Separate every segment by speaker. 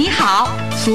Speaker 1: សួ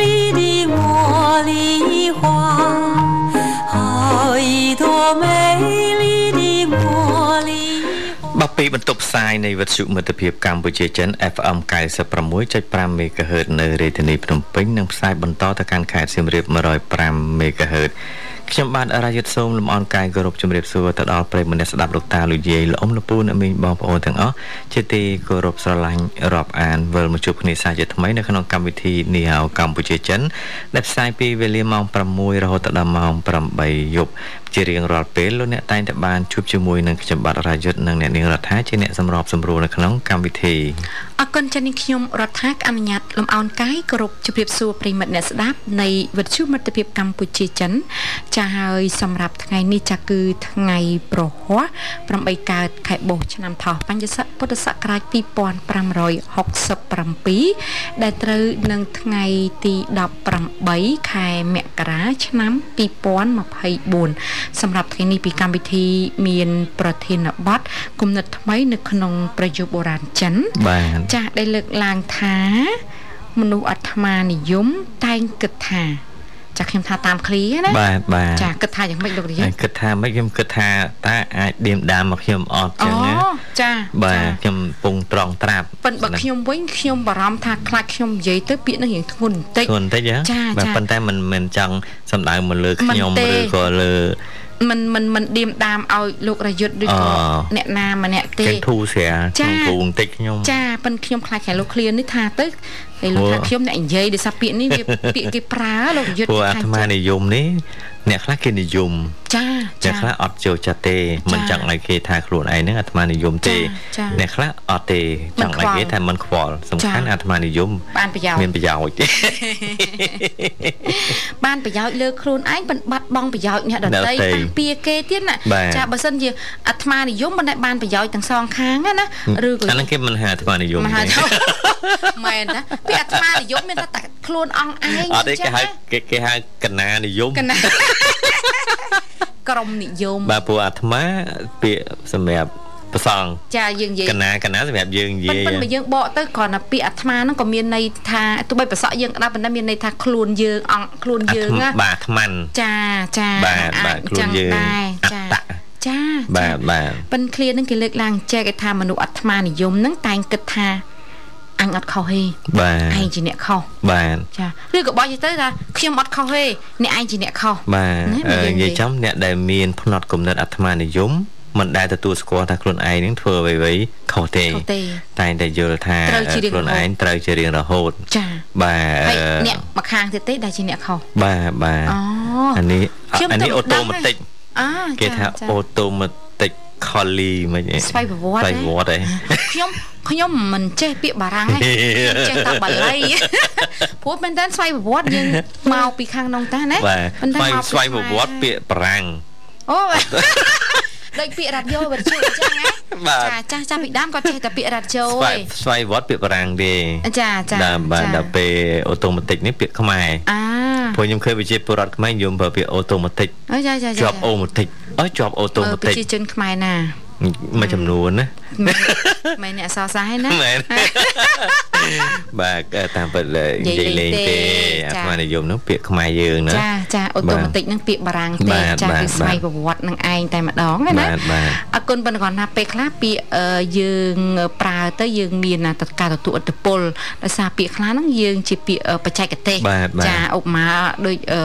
Speaker 2: 丽的茉莉花，好一朵美丽的茉莉花。
Speaker 3: បាទពីបន្ទប់ផ្សាយនៃវិទ្យុមិត្តភាពកម្ពុជាចិន FM 96.5 MHz នៅរាជធានីភ្នំពេញនិងផ្សាយបន្តទៅកាន់ខេត្តសៀមរាប105 MHz ខ្ញុំបាទរាយុទ្ធសូមលំអរកាយគោរពជំរាបសួរទៅដល់ប្រិយមិត្តអ្នកស្ដាប់លោកតាលោកយាយលោកអ៊ំលោកពូអ្នកមីងបងប្អូនទាំងអស់ជាទីគោរពស្រឡាញ់រាប់អានវិលមកជួបគ្នាសាជាថ្មីនៅក្នុងកម្មវិធីនីហៅកម្ពុជាចិនដែលផ្សាយពីវេលាម៉ោង6រហូតដល់ម៉ោង8យប់ជារៀងរាល់ពេលលោកអ្នកតែងតែបានជួបជាមួយនឹងខ្ញុំបាទរាយុទ្ធនិងអ្នកនាងរដ្ឋាជាអ្នកសម្របសម្រួលនៅក្នុងកម្មវិធី
Speaker 4: អរគុណចា៎នាងខ្ញុំរដ្ឋាអនុញ្ញាតលំអោនកាយគោរពជម្រាបសួរប្រិយមិត្តអ្នកស្ដាប់នៃវិទ្យុមិត្តភាពកម្ពុជាចិន ចា៎ហើយសម្រាប់ថ្ងៃនេះចា៎គឺថ្ងៃប្រហោះ8កើតខែបុស្សឆ្នាំថោះបញ្ញស័កពុទ្ធសករាជ2567ដែលត្រូវនឹងថ្ងៃទី18ខែមករាឆ្នាំ2024សម្រាប់ថ្ងៃនេះពីកម្មវិធីមានប្រធានបទគំនិតថ្មីនៅក្នុងប្រយោគបុរាណចិន
Speaker 3: បាទ
Speaker 4: ចាស់ដែលលើកឡើងថាមនុស្សអាត្មានិយមតែងគិតថា ចាស់ខ្ញុំថាតាមឃ្លីណា
Speaker 3: បាទបាទ
Speaker 4: ចាស់គិតថាយ៉ាងម៉េចលោករាជ
Speaker 3: ហើយគិតថាមិនខ្ញុំគិតថាតើអាចដៀមដាមមកខ្ញុំអត់ចឹងណា
Speaker 4: ចាស់
Speaker 3: បាទ
Speaker 4: ចា
Speaker 3: ខ្ញុំពងត្រង់ត្រាប់
Speaker 4: ប៉ុន្តែបើខ្ញុំវិញខ្ញុំបារម្ភថាខ្លាចខ្ញុំនិយាយទៅពាក្យនឹងរៀងធ្ងន់បន្តិច
Speaker 3: ខ្លួនតិចហ៎
Speaker 4: ចា
Speaker 3: បា
Speaker 4: ចា
Speaker 3: ទប៉ុន្តែមិនមិនចង់សំដៅមកលើខ្ញុំ
Speaker 4: មិនទេ
Speaker 3: ឬក៏លើ
Speaker 4: មិនមិនមិនដៀមដាមឲ្យលោករយុទ្ធឬក៏
Speaker 3: អ่า
Speaker 4: អ្នកណាម្នាក់ទេ
Speaker 3: ទាំងធូរស្រាល
Speaker 4: ចា
Speaker 3: ក្នុងគ្រូបន្តិចខ្ញុំ
Speaker 4: ចាប៉ិនខ្ញុំខ្លាចតែលោកឃ្លៀននេះថាទៅហើយលោកថា
Speaker 3: ព្រោះ
Speaker 4: ខ្ញុំអ្នកនិយាយដោយសារពាក្យនេះវាពាក្យគេប្រើលោករយុទ្ធ
Speaker 3: ព្រោះអា
Speaker 4: ថា
Speaker 3: ត្មានិយមនេះអ្នកខ្លះគេនិយម
Speaker 4: ចា
Speaker 3: អ្នក
Speaker 4: ចា
Speaker 3: ខ្លះអត់ចូលចិត្តទេមិនចង់ឲ្យគេថាខ្លួនឯងហ្នឹងអាត្មានិយមទេ
Speaker 4: ចាចា
Speaker 3: អ្នកខ្លះអត់ទេចង់ឲ្យគេថាមិនខ្វល់សំ
Speaker 4: ចា
Speaker 3: ខាន់អាត្មានិយម
Speaker 4: បានប្រយោជន៍
Speaker 3: មានប្រយោជន៍
Speaker 4: បានប្រយោជន៍លើខ្លួនឯងមិនបាត់បង់ប្រយោជន៍អ្នកដ
Speaker 3: អ្នកដ
Speaker 4: ទៃ
Speaker 3: ទៃ
Speaker 4: តាំងពីគេទៀតណា
Speaker 3: បាទ
Speaker 4: ចាបើសិនជាអាត្មានិយមមិនដែលបានប្រយោជន៍ទាំងសងខាងណាណាឬ ក៏
Speaker 3: អាហ្នឹងគេមិនហៅអាត្មានិយម
Speaker 4: មហា
Speaker 3: ទេ
Speaker 4: ជនមែនណាពីអាត្មានិយមមានតែតែខ្លួនអង្គឯង
Speaker 3: អត់ទេគេហៅ
Speaker 4: ណា
Speaker 3: គេគេហៅកណានិយមក
Speaker 4: ណា ក្រមនិយម
Speaker 3: បាទព្រោះអាត្មាពាក្យសម្រាប់ប្រសង
Speaker 4: ចាយើងនិយាយក
Speaker 3: ណាកណាសម្រាប់យើងនិ
Speaker 4: ប៉ុ
Speaker 3: យាយ
Speaker 4: ន្តែបើយើងបកទៅគ្រាន់តែពាក្យអាត្មាហ្នឹងក៏មានន័យថាទោះបីប្រសក់យើងក៏ដោយប៉ុន្តែមានន័យថាខ្លួនយើងអង្គខ្លួន
Speaker 3: អា
Speaker 4: យើង
Speaker 3: ត្មា
Speaker 4: ណា
Speaker 3: បាទអាត្មា
Speaker 4: ចាចា
Speaker 3: បាទបាទ
Speaker 4: អាច
Speaker 3: ខ្លួន
Speaker 4: ចឹង
Speaker 3: យើង
Speaker 4: ដែរ
Speaker 3: អ
Speaker 4: ចា
Speaker 3: ត្ត
Speaker 4: ចា
Speaker 3: បា
Speaker 4: ចា
Speaker 3: ទបាទ
Speaker 4: ប៉ិនឃ្លៀនឹងគេលើកឡើងចែកឲ្យថាមនុស្សអាត្មានិយមហ្នឹងតែងគិតថាអញអត់ខុសទេ
Speaker 3: បាទ
Speaker 4: ឯងជាអ្នកខុស
Speaker 3: បាទ
Speaker 4: ចាឬក៏បើនិយាយទៅថាខ្ញុំអត់ខុសទេអ្នកឯងជាអ្នកខុស
Speaker 3: បាទ
Speaker 4: ណា
Speaker 3: អឺ
Speaker 4: និ
Speaker 3: និយា
Speaker 4: យាយ
Speaker 3: យ
Speaker 4: ទេ
Speaker 3: ចំអ្នកដែលមានផ្នត់គំនិតអាត្មានិយមមិនដែលទទួលស្គាល់ថាខ្លួនឯងនឹងធ្វើអ្វីៗខុសទេ
Speaker 4: ខុសទេ
Speaker 3: តែងតែយល់ថា
Speaker 4: ត្រូវជារៀង
Speaker 3: ខ្លួន
Speaker 4: រហូ
Speaker 3: ឯង
Speaker 4: ត
Speaker 3: ត្រូវជារៀងរហូត
Speaker 4: ចា
Speaker 3: បា
Speaker 4: ហើយ
Speaker 3: ទ
Speaker 4: អ្នកម្ខាងទៀតទេដែលជាអ្នកខុស
Speaker 3: បាទបាទ
Speaker 4: អូ
Speaker 3: អានេះ
Speaker 4: ខ្ញុំ
Speaker 3: អានេះ
Speaker 4: ទៅ
Speaker 3: អូតូ
Speaker 4: ដឹង
Speaker 3: ម៉ាទិក
Speaker 4: អា
Speaker 3: គេថា
Speaker 4: ចាចា
Speaker 3: អូតូម៉ាទិក collie មិនឯង
Speaker 4: ស្វ័យប្រវត្តិ
Speaker 3: ស្វ័យប្រវត្តិឯង
Speaker 4: ខ្ញុំខ្ញុំមិនចេះពាក្យបា រាំងទេខ្ញុំចេះតែបាលី ព្រោះមែនតើស្វ័យប្រវត្តិយើងមកពីខាងនោះតាណា
Speaker 3: បាទ
Speaker 4: ប៉ុន្តែ
Speaker 3: ស្វ័យ
Speaker 4: មកពី
Speaker 3: ស្វ័យប្រវត្តិ
Speaker 4: ខ្មែរ
Speaker 3: ពាក្យបារាំង
Speaker 4: អូ ដូចពាក្យរ៉ាឌីយ៉ូវិទ្យុអញ្ចឹងណា
Speaker 3: បាទ
Speaker 4: ចាចាស់ចាស់ពីដើមគាត់ចេះតែពាក្យរ៉ាឌីយ៉ូ
Speaker 3: ស្វ័យស្វ័យប្រវត្តិពាក្យបារាំងទេ
Speaker 4: ឯងចាចា
Speaker 3: បាទបាទដល់ពេលអូតូម៉ាទិកនេះពាក្យខ្មែរ
Speaker 4: អា
Speaker 3: ព្រោះខ្ញុំឃើញវិជាពលរដ្ឋខ្មែរនិយមប្រើពាក្យអូតូម៉ាទិក
Speaker 4: អើចាចា
Speaker 3: ជាប់អូម៉ាទិកអើយជាប់អូតូ
Speaker 4: មើល
Speaker 3: ម៉ាទិក
Speaker 4: ប្រជាជនខ្មែរណា
Speaker 3: មួយចំនួនណា
Speaker 4: មិនមែនអ្នកសរសាហើយណា
Speaker 3: មែន បាទអឺតាមពិតលើនិយាយលេងទេ
Speaker 4: និយាយលេងទេ
Speaker 3: អា
Speaker 4: ចា៎
Speaker 3: ត្មានិយមនោះពាក្យខ្មែរយើងណា
Speaker 4: ចាចាអូតូម៉ាទិកហ្នឹងពាក្យបារាំងទេ
Speaker 3: បាទ
Speaker 4: ចា
Speaker 3: បាទ
Speaker 4: គឺស្វ័យ
Speaker 3: បាទ
Speaker 4: ប្រវត្តិនឹងឯងតែម្ដងហ្នឹងណា
Speaker 3: បាទបាទ
Speaker 4: អរគុណប៉ុន្តែគ្រាន់ថាពេលខ្លះពាក្យអឺយើងប្រើទៅយើងមានណាតការទទួលឥទ្ធិពលដោយសារពាក្យខ្លះហ្នឹងយើងជាពាក្យអឺបច្ចេកទេស
Speaker 3: បាទបាទ
Speaker 4: ចាឧបមាដូចអឺ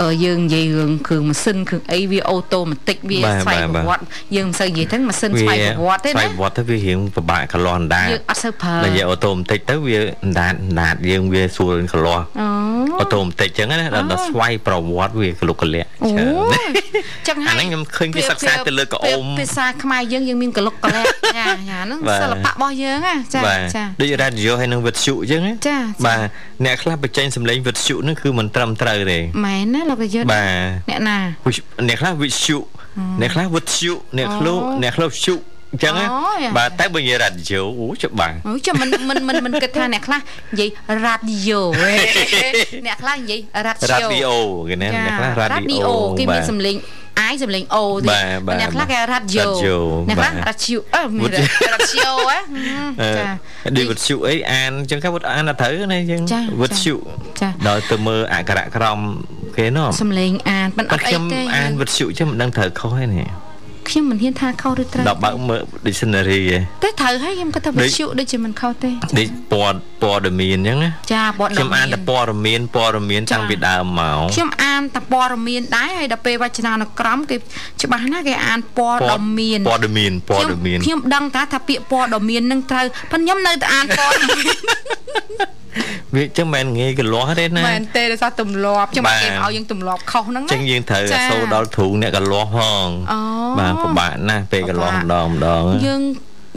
Speaker 4: អឺយើងនិយាយរឿងគ្រឿងម៉ាស៊ីនគ្រឿងអីវាអូតូម៉ាទិកវា
Speaker 3: បាទ
Speaker 4: ស្វ័យ
Speaker 3: បាទ
Speaker 4: ប្រវត្តិយើងមិនសូវនិយាយទៅម៉ាស៊ីនស្វ័យប្រវត្តិ
Speaker 3: ស្វ័
Speaker 4: ទេ
Speaker 3: យ
Speaker 4: ណា
Speaker 3: ប្រវត្តិទៅវារៀងពិបាកកន្លោះអណ្ដាត
Speaker 4: យើងអត់សូវប្រើ
Speaker 3: តែនិយាយអូតូម៉ាទិកទៅវាអណ្ដាតអណ្ដាតយើងវាស្រួលកន្លោះ
Speaker 4: អូ
Speaker 3: អូតូម៉ាទិកចឹងណាដល់ដល់ស្វ័យប្រវត្តិវាកលុកកលាក់
Speaker 4: អូ
Speaker 3: ច្រើនណាស់
Speaker 4: ចឹងហើយ
Speaker 3: អាហ្នឹងខ្ញុំឃើញគេ
Speaker 4: វា
Speaker 3: សិក្សាទៅលើក្អម
Speaker 4: វាភាសាខ្មែរយើងយើងមានកលុកក លែកចាចាហ្នឹង
Speaker 3: បាទ
Speaker 4: សិល្បៈរបស់យើងណាចា
Speaker 3: បាទ
Speaker 4: ចា
Speaker 3: ដូចរ៉ាឌីយ៉ូហើយនឹងវិទ្យុចឹងណា
Speaker 4: ចា
Speaker 3: បាទអ្នកខ្លះបញ្ចេញសម្លេងវិទ្យុហ្នឹងគឺមិនត្រឹមត្រូវទេ
Speaker 4: មែនណាលោករយុទ្ធ
Speaker 3: បាទ
Speaker 4: អ្នកណា
Speaker 3: វិទ្យុអ្នកខ្លះវិទ្យុអ្នកខ្លះវិទ្យុអ្នកខ្លះអ្នកខ្លះវិទ្យុ អញ្ចឹងណា
Speaker 4: អូយ
Speaker 3: បាទតែបើនិយាយរ៉ាឌីយ៉ូអូច្បាស់
Speaker 4: អូចាំមិន មិនមិនមិនគិតថាអ្នកខ្លះនិយាយរ៉ាឌីយ៉ូ អ្នកខ្លះនិយាយ
Speaker 3: រ៉
Speaker 4: រ៉ា
Speaker 3: ា
Speaker 4: ឌី
Speaker 3: ឌី
Speaker 4: យ៉ូ
Speaker 3: អូគេណាអ្នកខ្លះរ៉ាឌី
Speaker 4: អូ
Speaker 3: អូ
Speaker 4: គេ
Speaker 3: បា
Speaker 4: មាន
Speaker 3: ទ
Speaker 4: សំឡេង I សំឡេង O ទេ
Speaker 3: បាទបាទ
Speaker 4: អ្នកខ្លះគេរ៉ាឌីយ៉ូ
Speaker 3: រ៉ាឌីយ៉ូ
Speaker 4: អ្នកខ្លះ
Speaker 3: បាទ
Speaker 4: រ៉ាឌីយ៉ូអឺមាន
Speaker 3: វុឌ្ឍិ អឺ
Speaker 4: រ៉ាឌីយ៉ូហ៎ចា
Speaker 3: ដូចវត្ថុអីអានអញ្ចឹងគេវត្តអានអត់ត្រូវណាអញ្ចឹង
Speaker 4: ចា
Speaker 3: វត្ថុ
Speaker 4: ចា
Speaker 3: ដល់ទៅមើលអក្ខរក្រមគេណោះ
Speaker 4: សំឡេងអានមិនអ
Speaker 3: តែ
Speaker 4: ត់អី
Speaker 3: ខ្ញុំ
Speaker 4: ទេ
Speaker 3: អានវត្ថុអញ្ចឹងមិនដឹងត្រូវខុសទេនេះ
Speaker 4: ខ្ញុំមិនហ៊ានថាខុសឬត្រូវ
Speaker 3: ដល់បើកមើល dictionary ឯង
Speaker 4: តែត្រូវហើយខ្ញុំគិតថា
Speaker 3: ដូច
Speaker 4: វិទ្យុដូចជាមិនខុសទេ
Speaker 3: នេះព័ត៌ព័ត៌មានអញ្ចឹងណា
Speaker 4: ចាបត់
Speaker 3: ខ្ញុំអានតែព័ត៌មានព័ត៌មានតាំង
Speaker 4: ចា
Speaker 3: ពីដើមមក
Speaker 4: ខ្ញុំអានតែព័ត៌មានដែរហើយដល់ពេលវចនានុក្រមគេច្បាស់ណាស់គេអានព័ត៌មាន
Speaker 3: ព័ត៌មានព័ត៌មាន
Speaker 4: ខ្ញុំខ្ញុំដឹងថាថាពាក្យព័ត៌មាននឹងត្រូវប៉ុន្តែខ្ញុំនៅតែអានព័ត៌មាន
Speaker 3: វាអញ្ចឹងមិនមែនងាយកលាស់ទេណា
Speaker 4: មែនទេដោយសារទម្លាប់ខ្ញុំ
Speaker 3: បាទ
Speaker 4: គេឲ្យយើងទម្លាប់ខុសហ្នឹង
Speaker 3: អញ្ចឹងយើងត្រូវអាសូរដល់ទ្រូងអ្នកកលាស់ផង
Speaker 4: អូ
Speaker 3: បាទពិបាកណាស់ពេលកលាស់ម្ដងម្ដង
Speaker 4: យើង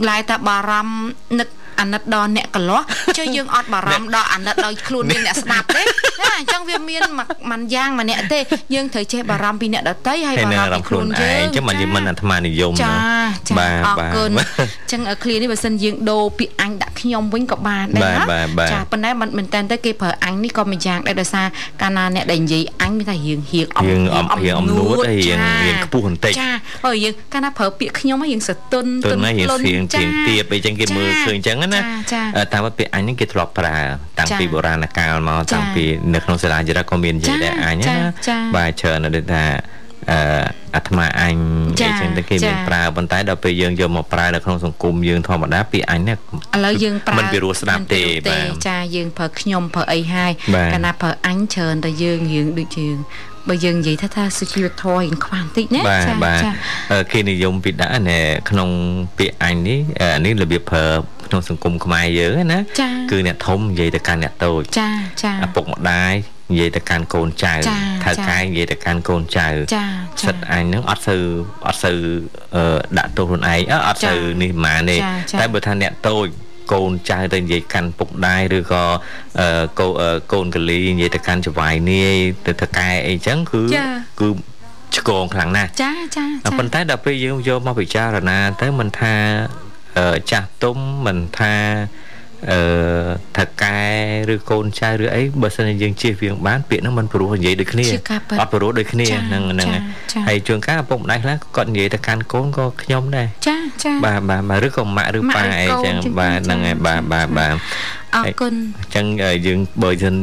Speaker 4: ឡាយតែបារម្ភនឹកអាណិតដល់អ្នកក លាស់ចុះយើងអត់បារម្ភដល់អាណិតដល់ខ្លួនយើងអ្នកស្ដាប់ទេណាអញ្ចឹងវាមានមួយមួយយ៉ាងម្នាក់ទេយើងត្រូវចេះបារម្ភពីអ្នកដទៃហើយ
Speaker 3: ហើយ
Speaker 4: បា
Speaker 3: នឹង
Speaker 4: រ
Speaker 3: អារម្មណ៍
Speaker 4: ម្ភពីខ្លួន
Speaker 3: ខ្លួន
Speaker 4: យើ
Speaker 3: ឯង
Speaker 4: ង
Speaker 3: ចឹងមិនយើងមិនអាត្មានិយម
Speaker 4: ចា
Speaker 3: ណា
Speaker 4: ចា
Speaker 3: បាទ
Speaker 4: អរ
Speaker 3: បាទ
Speaker 4: គុណអញ្ចឹងឃ្លានេះបើសិនយើងដូរពាក្យអញដាក់ខ្ញុំវិញក៏បានដែរ
Speaker 3: បាទបាទបាទ
Speaker 4: ណាចាប៉ុន្តែមិនមែនតែនទៅគេប្រើអញនេះក៏មួយយ៉ាងដែរដោយសារកាលណាអ្នកដែលនិយាយអញមានថារៀងហៀងអ
Speaker 3: យើងអំ ំភាអំនួតអីរៀងរៀងខ្ពស់បន្តិច
Speaker 4: ចាហើយយើងកាលណាប្រើពាក្យខ្ញុំហ្នឹងយើងសតុន
Speaker 3: ទុនណាយើងសៀងទៀងទៀបអីចឹងគេមើលឃើញចឹងណា
Speaker 4: ចា
Speaker 3: អឺតាមពិតពាក្យអញហ្នឹងគេធ្លាប់ប្រើតាំង
Speaker 4: ចា
Speaker 3: ពីបុរាណកាលមកតាំងពីនៅក្នុងសាលាចរិយាក៏មាននិយាយដែរអញ
Speaker 4: ចា
Speaker 3: ណា
Speaker 4: ចា
Speaker 3: បាទច្រើនណាស់ដូចថាអឺអាត្មាអញ
Speaker 4: ចា
Speaker 3: អីចឹងទៅគេ
Speaker 4: ចា
Speaker 3: មានប្រើប៉ុន្តែដល់ពេលយើងយកមកប្រើនៅក្នុងសង្គមយើងធម្មតាពាក្យអញហ្នឹង
Speaker 4: ឥឡូវយើងប្រើ
Speaker 3: មិនពីរោះស្ដាប់ទេ
Speaker 4: មិនពីរោះ
Speaker 3: បាទ
Speaker 4: ចាយើងប្រើខ្ញុំប្រើអីហើយ
Speaker 3: បាទ
Speaker 4: កាលណាប្រើអញច្រើនតែយើងរៀងដូចយើងបើយើងនិយាយថាថាសុជីវធម៌រៀងខ្វះបន្តិចណា
Speaker 3: បាទបាទអឺគេនិយមពីដាក់ណែក្នុងពាក្យអញនេះអឺអានេះរបៀបប្រើក្នុងសង្គមខ្មែរយើងហ្នឹងណា
Speaker 4: ចា
Speaker 3: គឺអ្នកធំនិយាយទៅកាន់អ្នកតូច
Speaker 4: ចាចា
Speaker 3: ឪពុកម្ដាយនិយាយទៅកាន់កូនចៅ
Speaker 4: ចា
Speaker 3: ថៅ
Speaker 4: ចា
Speaker 3: កែនិយាយទៅកាន់កូនចៅ
Speaker 4: ចា
Speaker 3: សិតអញហ្នឹងអត់សូវអត់សូវអឺដាក់ទោសខ្លួនឯងអឺអត់សូវនេះប៉ុន្មានទេតែបើថាអ្នកតូចកូនចៅទៅនិយាយកាន់ពុកដែរឬក៏អឺកូនអឺកូនកលីនិយាយទៅកាន់ចវាយនាយទៅថៅកែអីចឹងគឺគឺឆ្កងខ្លាំងណាស់
Speaker 4: ចាចា
Speaker 3: តែប៉ុន្តែដល់ពេលយើងយកមកពិចារណាទៅមិនថាអឺចាស់ទុំមិនថាអឺថកែឬកូនចៅឬអីបើសិនជាយើងជៀសវាងបានពាក្យហ្នឹងមិនព្រោះនិយាយដូចគ្នា
Speaker 4: ជាការពិត
Speaker 3: អត់ព្រោះដូចគ្នា
Speaker 4: ចា
Speaker 3: ហ្នឹងហ្នឹង
Speaker 4: ចាចា
Speaker 3: ហើយជួនកាលឪពុកម្ដាយខ្លះក៏គាត់និយាយទៅកាន់កូនក៏ខ្ញុំដែរ
Speaker 4: ចាចា
Speaker 3: បាទបាទបាទឬក៏ម៉ាក់ឬ
Speaker 4: ម៉ាក់
Speaker 3: ប៉ា
Speaker 4: ឬ
Speaker 3: អី
Speaker 4: កូន
Speaker 3: ចឹង
Speaker 4: ចឹ
Speaker 3: បាទ
Speaker 4: ងចា
Speaker 3: ហ្នឹងហើយបាទបាទបាទ
Speaker 4: អរគុណ
Speaker 3: អញ្ចឹងអឺយើងបើសិន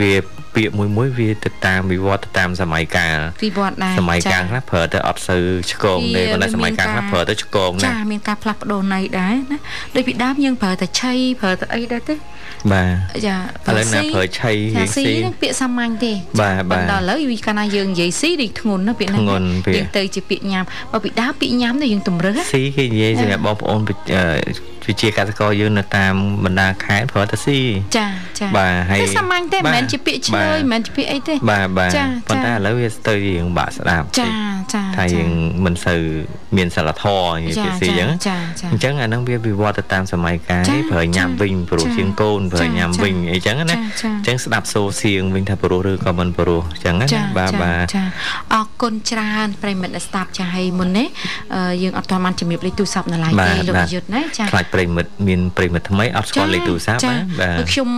Speaker 3: វាពាក្យមួយមួយវាទៅតាមវិវត្តទៅតាមសម័យកាល
Speaker 4: ពីវត្តដែរ
Speaker 3: សម័យកាល
Speaker 4: ចា
Speaker 3: ខ្លះប្រើទៅអត់សូវឆ្កងទេ
Speaker 4: វា
Speaker 3: ប៉ុន្តែ
Speaker 4: វា
Speaker 3: សម័យកាល
Speaker 4: មាន
Speaker 3: ខ្លះ
Speaker 4: ការ
Speaker 3: ប្រើទៅឆ្កងណា
Speaker 4: ចា
Speaker 3: ស់
Speaker 4: មានការផ្លាស់ប្ដូរន័យដែរណាដូចពីដើមយើងប្រើតែឆៃប្រើតែអីដែរទេ
Speaker 3: បាទ
Speaker 4: ចា
Speaker 3: ឥឡូវណា
Speaker 4: ស៊ី
Speaker 3: ប្រើឆៃ
Speaker 4: ចា
Speaker 3: រៀង
Speaker 4: ស៊ី
Speaker 3: ស៊ី
Speaker 4: នឹងពាក្យសាមញ្ញទេ
Speaker 3: បាទបាទ
Speaker 4: ប៉ុន្តែឥឡូវវាកាលណាយើងនិយាយស៊ីដូចធ្ងន់ណាពាក្យហ្នឹង
Speaker 3: ធ្ងន់ពាក្យ
Speaker 4: យើងទៅជាពាក្យញ៉ាំបើពីដើមពាក្យញ៉ាំនេះយើងតម្រឹសណា
Speaker 3: ស៊ីគេនិយាយសម្រាប់បងប្អូនវិអឺវិជាកសិករយើងនៅតាមបណ្ដាខេត្តប្រើទៅស៊ី
Speaker 4: ចាចា
Speaker 3: បាទហើយ
Speaker 4: តែសាមញ្ញទេ
Speaker 3: បាទ
Speaker 4: មិនមែនជាពាក្យឆ្លើយ
Speaker 3: បាទ
Speaker 4: មិនមែនជាពាក្យអីទេ
Speaker 3: បាទបាទ
Speaker 4: ចា
Speaker 3: ប៉ុន្តែ
Speaker 4: ចា
Speaker 3: ឥឡូវវាទៅរៀងបាក់ស្ដាប់
Speaker 4: ចាចា
Speaker 3: ថាយើងមិនសូវមានសិលធម៌និយាយពាក្យស៊ីអញ្ចឹងណា
Speaker 4: ចាចា
Speaker 3: អញ្ចឹងអាហ្នឹងវាវិវត្តទៅតាមសម័យកាល
Speaker 4: ចា
Speaker 3: នេះប្រើញ៉ាំ
Speaker 4: ចា
Speaker 3: វិញព្រោះ
Speaker 4: ចា
Speaker 3: ជាងកូនប្រើ
Speaker 4: ចា
Speaker 3: ញ៉ាំ
Speaker 4: ចា
Speaker 3: វិញអីចឹងណាអ
Speaker 4: ចា
Speaker 3: ញ
Speaker 4: ចា
Speaker 3: ្ចឹងស្ដាប់សូរសៀងវិញថាព្រោះឬក៏មិនព្រោះអញ្ចឹងណា
Speaker 4: ចា
Speaker 3: បាទ
Speaker 4: ចា
Speaker 3: បាទ
Speaker 4: ចាអរគុណច្រើនប្រិមិត្តដែលស្ដាប់ចាហើយមុននេះអឺយើងអត់ទាន់បានជំរាបលេខទូរស័ព្ទនៅឡើយ
Speaker 3: បាទ
Speaker 4: ទេលោក
Speaker 3: បាទ
Speaker 4: ប្រយុទ្ធណាចា
Speaker 3: ខ្លាចប្រិមិត្តមានប្រិមិត្តថ្មីអត់ស្គាល់លេខទូរស័ព្ទ
Speaker 4: ចា
Speaker 3: ណាបាទ
Speaker 4: គឺខ្ញុំ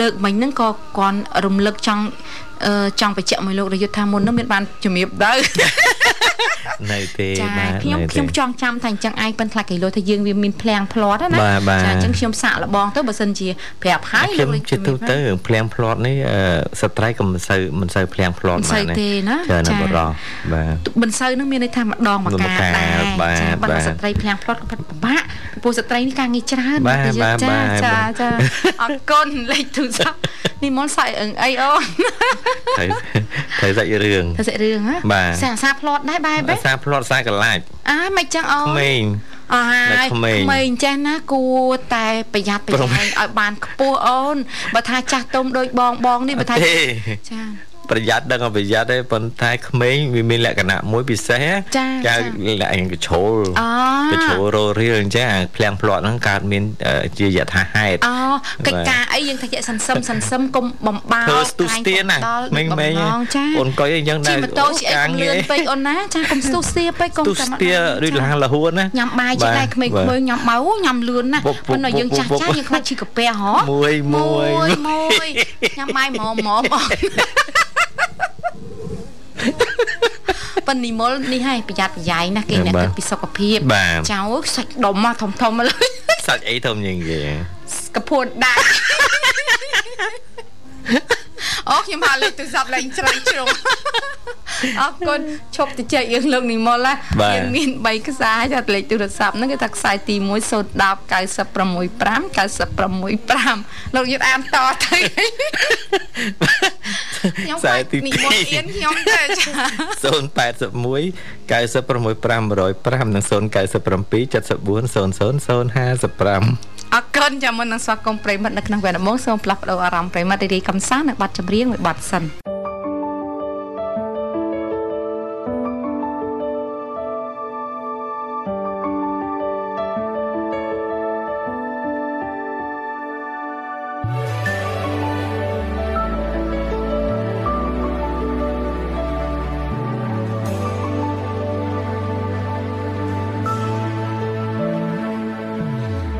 Speaker 4: លើកមិញហ្នឹងក៏គាត់រំលឹកចង់អឺចង់បញ្ជាក់មួយលោករយុទ្ធថាមុនហ្នឹងមានបានជំរាបដែរ
Speaker 3: នៅទេ
Speaker 4: ចា
Speaker 3: បាទ
Speaker 4: ខ្ញុំ
Speaker 3: នៅទេ
Speaker 4: ខ្ញុំចង់ចាំថាអញ្ចឹងឯងប៉ិនខ្លាចគេលោថាយើងវាមានភ្លាំងផ្លាត់ហ្នឹង
Speaker 3: បាទបាទ
Speaker 4: ណាចាអញ្ចឹងខ្ញុំសាកល្បងទៅបើសិនជាប្រាប់ហើយ
Speaker 3: ខ្ញុំ
Speaker 4: លេខ
Speaker 3: ជាទូ
Speaker 4: ជំរាប
Speaker 3: ទៅ
Speaker 4: ណា
Speaker 3: រឿងភ្លៀងផ្្លត់នេះអឺស្ត្រីក៏មិនសូវមិនសូវភ្លៀងផ្្លត់
Speaker 4: មិនសូវទេណា
Speaker 3: ច្រើន
Speaker 4: ចា
Speaker 3: ណាស់បរោះបាទ
Speaker 4: មិនសូវនឹងមានន័យថាម្ដងមក
Speaker 3: ម្ដង
Speaker 4: ការ
Speaker 3: ម្កា
Speaker 4: ដែរ
Speaker 3: បាទ
Speaker 4: ចាប៉ុ
Speaker 3: បាទ
Speaker 4: ន្តែស្ត្រីភ្លាំងផ្លត់ក៏ពិតពិបាកពីព្រោះស្ត្រីនេះការងារច្រើន
Speaker 3: បាទ
Speaker 4: ប្រយុទ្ធ
Speaker 3: បាទបាទ
Speaker 4: ចា
Speaker 3: បាទ
Speaker 4: ចាអរគុណលេខទូរស័ព្ទនេះមកសាច់អឹងអី អូន
Speaker 3: ត្រូវត្រូវសាច់ រឿង
Speaker 4: ទៅសាច់រឿងហ៎
Speaker 3: បាទ
Speaker 4: សាសាផ្លត់ដែរបែប
Speaker 3: អាសាផ្្លត់សាកលាច់
Speaker 4: អាយមិនចឹងអូន
Speaker 3: ក្មេង
Speaker 4: អស់ហើ
Speaker 3: នៅ
Speaker 4: យ
Speaker 3: ក្មេង
Speaker 4: ក្មេងចេះណាគួរតែប្រយ័ត្នប្រ
Speaker 3: ប្រម
Speaker 4: យែងឲ្យបានខ្ពស់អូនបើថាចាស់ទុំដូចបងបងនេះបើថា
Speaker 3: ទេ
Speaker 4: ចា
Speaker 3: ប្រយ័ត្នដឹងឲ្យប្រយ័ត្នទេប៉ុន្តែក្មេងវាមានលក្ខណៈមួយពិសេស
Speaker 4: ចា
Speaker 3: គេ
Speaker 4: ចា
Speaker 3: លក្ខណៈកជ្រោល
Speaker 4: អូ
Speaker 3: កជ្រោលរោរៀលអញ្ចឹងអាភ្លៀងភ្លាត់ហ្នឹងកើតមានអឺជាយថាហេតុ
Speaker 4: អូកិច្ចការអីយើងថាជាសន្សឹមសន្សឹមកុំបំបោ
Speaker 3: ធ្វើស្ទុះស្ទៀនណាមិញមិញ
Speaker 4: ងចា
Speaker 3: អូនកុយអីយ៉ាង
Speaker 4: ជិះ
Speaker 3: ដែរ
Speaker 4: ម៉ូតូជិះអីកុំលឿនពេកអូនណាចាកុំស្ទុះស្ទាពេកកុំ
Speaker 3: ស្ទុះ
Speaker 4: ចាំ
Speaker 3: ស្ទៀដូចលះលហួនណា
Speaker 4: ញ៉ាំបាយជិះដែរក្មេងៗញ៉ាំបៅញ៉ាំលឿនណាប៉ុន្តែយើងចាស់ចាស់យើងខ្លាចឈីកាពះហ៎
Speaker 3: មួយមួយ
Speaker 4: មួយញ៉ាំបាយម៉មម៉មប៉ានីមុលនេះហើយប្រយ័ត្នប្រយែងណាគេអ្នកគិតពីសុខភាព
Speaker 3: បាទ
Speaker 4: ចៅសាច់ដុំមកធំធំឡើយ
Speaker 3: សាច់អីធំយ៉ាង គេ
Speaker 4: កពួនដាក់ អូខ្ញុំមកលេខទូរស័ព្ទលេងច្រើនជ្រុង អរគុណឈប់ទៅចែកយើងលោកនីមុលណាយើងមាន3ខ្សែចាត់លេខទូរស័ព្ទហ្នឹងគេថាខ្សែទី1 010 965 965លោកយើងអានតទៅ ខ្ញុំខ្លាចនិមន្តអៀនខ្ញុំ ទៅចា
Speaker 3: 081 96505និង0977400055
Speaker 4: អរគុណចាំមុននឹងស្វាគមន៍ប្រិយមិត្តនៅក្នុងវគ្គដំបូងសូមផ្លាស់ប្ដូរអារម្មណ៍ប្រិយមិត្តរីរីកំសាន្តនៅប័ណ្ណចម្រៀងមួយប័ណ្ណសិន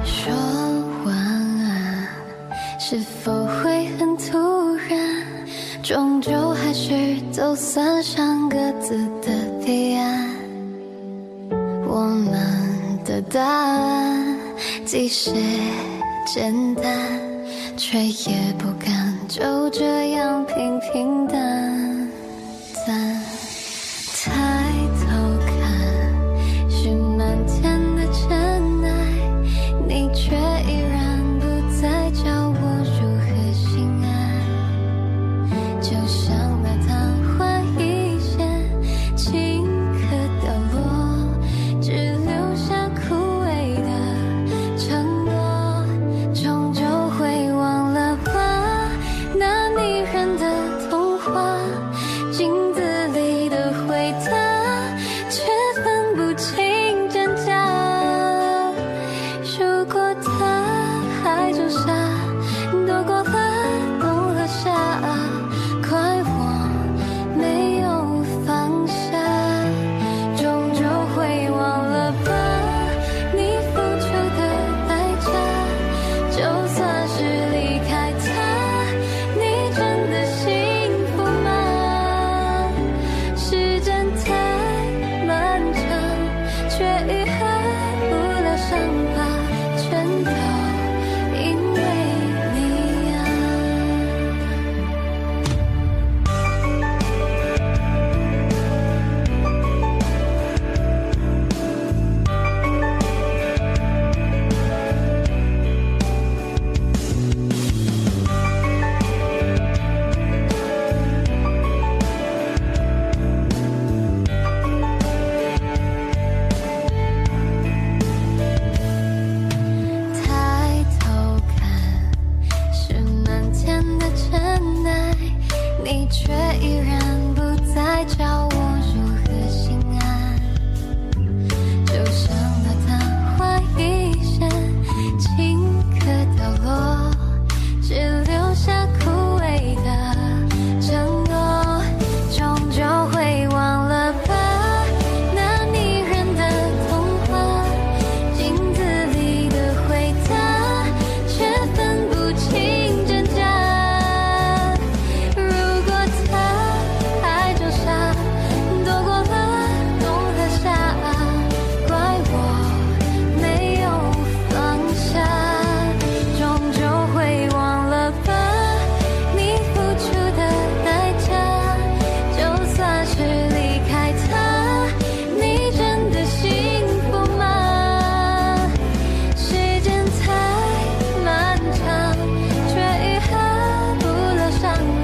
Speaker 5: 说晚安，是否会很突然？终究还是走散，上各自的彼岸。我们的答案，即使简单，却也不敢就这样平平淡淡。抬头看，是满天的尘埃，你却依然不再教我如何心安。就像那昙花一现，顷刻凋落，只留下枯萎的承诺，终究会忘了吧？那迷人的童话。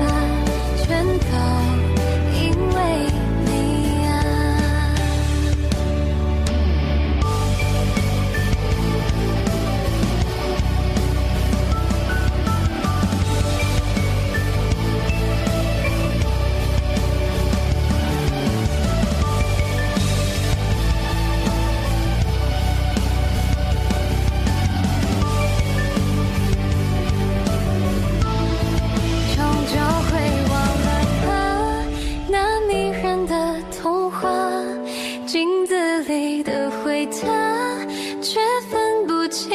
Speaker 5: 啊里的回答，却分不清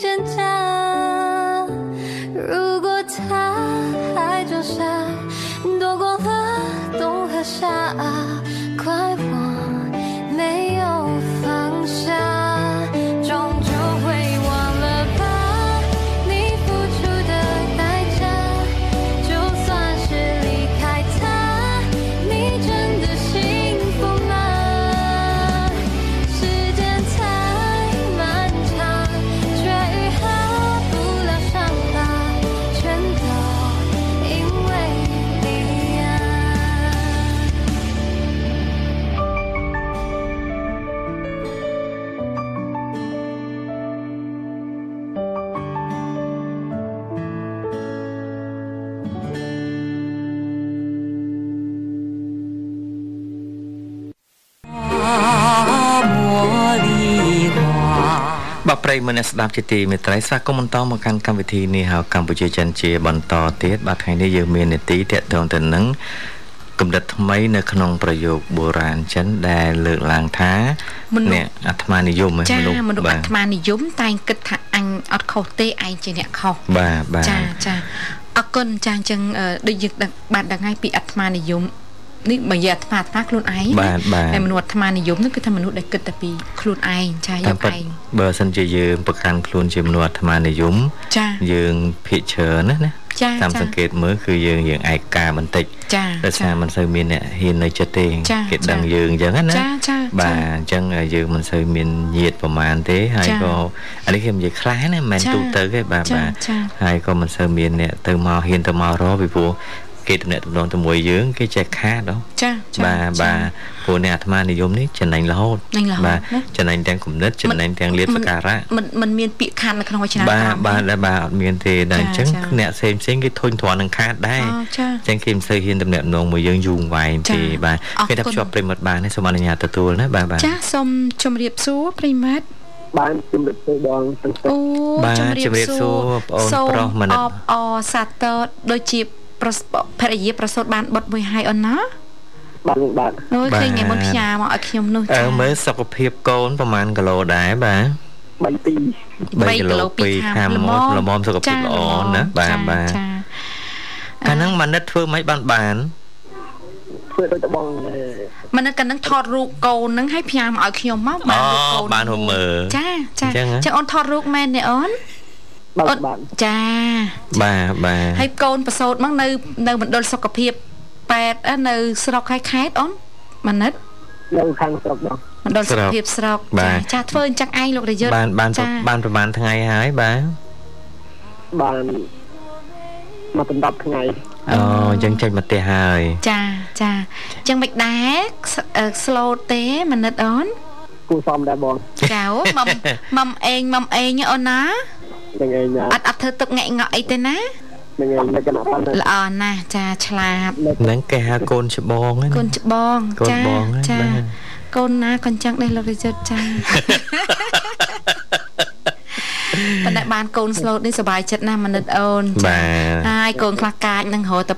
Speaker 5: 真假。如果他还装傻，躲过了冬和夏，怪我没有放下，终究会忘了吧，你付出的代价，就算是离开他，你真的幸福吗？时间太漫长，却愈合不了伤疤，全都因为你啊。
Speaker 2: 花茉莉花。
Speaker 3: បាទប្រិយមិត្តអ្នកស្ដាប់ជាទីមេត្រីស្វាគមន៍បន្តមកកាន់កម្មវិធីនេះហៅកម្ពុជាចិនជាបន្តទៀតបាទថ្ងៃនេះយើងមាននីតិតកតងទៅនឹងកម្រិតថ្មីនៅក្នុងប្រយោគបុរាណចិនដែលលើកឡើងថា
Speaker 4: មនុស្ស
Speaker 3: អ្នកអាត្មានិយមហ៎
Speaker 4: ចាមនុស្ស
Speaker 3: បាទ
Speaker 4: អាត្មានិយមតែងគិតថាអញអត់ខុសទេឯងជាអ្នកខុស
Speaker 3: បាទបាទ
Speaker 4: ចាចាអរគុណចាអញ្ចឹងអឺដូចយើងដឹងបានដឹងហើយពីអាត្មានិយមនេះបើនិយាយអាត្មាអាត្មាខ្លួនឯងណា
Speaker 3: បាទបាទ
Speaker 4: ហើយមនុស្សអាត្មានិយមនោះគឺថាមនុស្សដែលគិតតែពីខ្លួនឯងចាយ
Speaker 3: តាម
Speaker 4: ក
Speaker 3: ពិត
Speaker 4: ឯង
Speaker 3: បើសិនជាយើងប្រកាន់ខ្លួនជាមនុស្សអាត្មានិយម
Speaker 4: ចា
Speaker 3: យើងភិកច្រើនណាស់ណា
Speaker 4: ចា
Speaker 3: តាម
Speaker 4: ចា
Speaker 3: សង្កេតមើលគឺយើងយើងឯកាបន្តិច
Speaker 4: ចា
Speaker 3: ដោយ
Speaker 4: ចា
Speaker 3: សារមិនសូវមានអ្នកហ៊ាននៅចិត្តទេ
Speaker 4: ចា
Speaker 3: គេ
Speaker 4: ចា
Speaker 3: ដឹងយើងអញ្ចឹងណា
Speaker 4: ចាចា
Speaker 3: បាទអ
Speaker 4: ចា
Speaker 3: ញ្ចឹងយើងមិនសូវមានញាតប្រមាណទេហើយ
Speaker 4: ចា
Speaker 3: ក៏អានេះគេនិយាយខ្លះណាមិនមែន
Speaker 4: ចា
Speaker 3: ទូទៅទេបាទ
Speaker 4: ចា
Speaker 3: បាទ
Speaker 4: ចា
Speaker 3: ហើយក៏មិនសូវមានអ្នកទៅមកហ៊ានទៅមករកពីព្រោះគេតំណែងតំណងជាមួយយើង គេចេះខាតហ៎
Speaker 4: ចាចា
Speaker 3: បាទបាទព្រោះអ្នកអាត្មានិយមនេះចំណេញរហូត
Speaker 4: នឹងឡើង
Speaker 3: បាទ
Speaker 4: ណា
Speaker 3: ចំណេញទាំងគំនិតចំណេញទាំងលៀប
Speaker 4: មិ
Speaker 3: ស
Speaker 4: ន
Speaker 3: ក្ការៈ
Speaker 4: មិនមិនមានពាក្យខណ្ឌនៅក្នុងវចនា
Speaker 3: បាទ
Speaker 4: ក្រម
Speaker 3: បាទដែរបាទអត់មានទេដែរអញ្ចឹង
Speaker 4: ចាចា
Speaker 3: អ្នកផ្សេងផ្សេងៗគេធុញទ្រាន់នឹងខាតដែរ
Speaker 4: អូចា
Speaker 3: ចឹងគេមិនសូវហ៊ានតំណែងតំណងមួយយើងយូរវែង
Speaker 4: ចា
Speaker 3: ទេបាទ
Speaker 4: អរ
Speaker 3: គេថា
Speaker 4: គុណ
Speaker 3: ភ្ជាប់ប្រិមត្តបានទេសូមអនុញ្ញាតទទួលណាបាទបាទ
Speaker 4: ចាសូមជម្រាបសួរប្រិយមិត្ត
Speaker 6: បានជំរាបសួរបងសុខសប្បាយ
Speaker 3: បាទ
Speaker 4: អូ
Speaker 3: ជម្រាបសួរបង
Speaker 4: សូម
Speaker 3: ប្រុសមនិត
Speaker 4: អបអរសាទរដូចជាប្រសភរិយាប្រសូតបានបុត្រមួយហើយអូនណា
Speaker 6: បានបាទ
Speaker 4: អូយ
Speaker 3: បាទ
Speaker 4: ឃើញថ្ងៃមុនផ្ញើមកឲ្យខ្ញុំនោះ
Speaker 3: អឺមើលសុខភាពកូនប្រហែលគីឡូដែរបាទ
Speaker 6: បានទី
Speaker 4: 3គីឡូ2ខាំ
Speaker 3: ល្មមល្មមសុខភាព
Speaker 4: ចា
Speaker 3: ល្អ
Speaker 4: ល្មម
Speaker 3: ណាបាទ
Speaker 4: ចា
Speaker 3: បាទ
Speaker 4: ចា
Speaker 3: កាលហ្នឹងមនិតធ្វើមិនបានបាន
Speaker 6: ធ្វើដូចតបងអឺ
Speaker 4: មនិតកាលហ្នឹងថតរូបកូនហ្នឹងឲ្យផ្ញើមកឲ្យខ្ញុំមក
Speaker 3: អូ
Speaker 4: បា
Speaker 3: បាន ន
Speaker 4: រូ
Speaker 3: ហូ
Speaker 4: ប
Speaker 3: ប
Speaker 4: កូន
Speaker 3: មើល
Speaker 4: ចាចា
Speaker 3: អញ្ចឹងហ៎
Speaker 4: ចឹងអូនថតរូបមែនទេអូន
Speaker 6: បាន
Speaker 4: អូន
Speaker 6: បាន
Speaker 4: ចា
Speaker 3: បាទបាទ
Speaker 4: ហើយកូនប្រសូតមកនៅនៅមណ្ឌលសុខភាព8អឺនៅស្រុកហើយខេត្តអូនមនិត
Speaker 6: នៅខាងស្រុកបង
Speaker 4: មណ្ឌលសុខភាពស្រុកចាចាធ្វើអញ្ចឹងឯងលោករយុទ្ធ
Speaker 3: បានបាន
Speaker 4: ចា
Speaker 3: បានប្រហែលថ្ងៃហើយបាទ
Speaker 6: បានមកបណ្ដប់ថ្ងៃ
Speaker 3: អូអញ្ចឹងចេញមកផ្ទះហើយ
Speaker 4: ចាចាអញ្ចឹងមិនដែរស្អឺស្លូតទេមនិតអូន
Speaker 6: គូសំដែរបង
Speaker 4: ចាអូមមមមអេងមមអេងអូនណា
Speaker 6: នឹងឯងណា
Speaker 4: អត់អត់ធ្វើទឹកងាក់ងក់អីទេណា
Speaker 6: នឹងឯងនៅកណ្ដាលបាន
Speaker 4: ល្អណាស់ចាឆ្លាត
Speaker 3: ហ្នឹងគេហៅកូនច្បងហ្នឹង
Speaker 4: កូនច្បង
Speaker 3: កូន
Speaker 4: ចា
Speaker 3: បងហ្នឹង
Speaker 4: ចា
Speaker 3: បាទ
Speaker 4: កូនណាក៏អញ្ចឹងដែរលោករយុទ្ធ ចា ប៉ុន្តែបានកូនស្លូតនេះសុបាយចិត្តណាស់មនិតអូនចា
Speaker 3: បាទ
Speaker 4: ហើយកូនខ្លះកាចនឹងរហូតតែ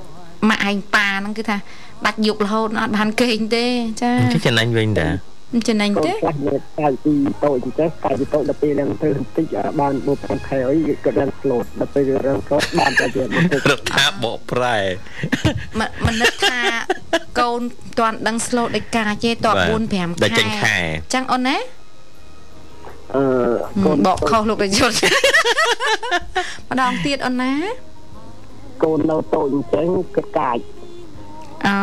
Speaker 4: ម៉ាក់ឯងប៉ាហ្នឹងគឺថាបាច់យប់រហូតអត់បានគេងទេ ចា
Speaker 3: អញ្ចឹងចំណេញវិញ តា
Speaker 4: មិនចំណេញ
Speaker 6: កូន
Speaker 4: ទេ
Speaker 6: ខ្លះនៅកាយទីតូចអញ្ចឹងកាយទីតូចដល់ពេលឡើងធ្វើបន្តិចបានបុកខែអីក៏ឡើងស្លូតដល់ពេលរឿងស្លូតបានតែជាបុក
Speaker 3: រដ្ឋាភិបាលបកប្រែ
Speaker 4: មមនិតថាកូនមិនទាន់ដឹងស្លូតដូចកាចទេតប
Speaker 3: បាទ
Speaker 4: 4 5ខែ
Speaker 3: ដល់ចេញខែ
Speaker 4: ចឹងអូនណា
Speaker 6: អឺកូន
Speaker 4: បកខុសលោករយុទ្ធ ម្ដងទៀតអូនណា
Speaker 6: កូននៅតូចអញ្ចឹងក៏កាច
Speaker 4: អូ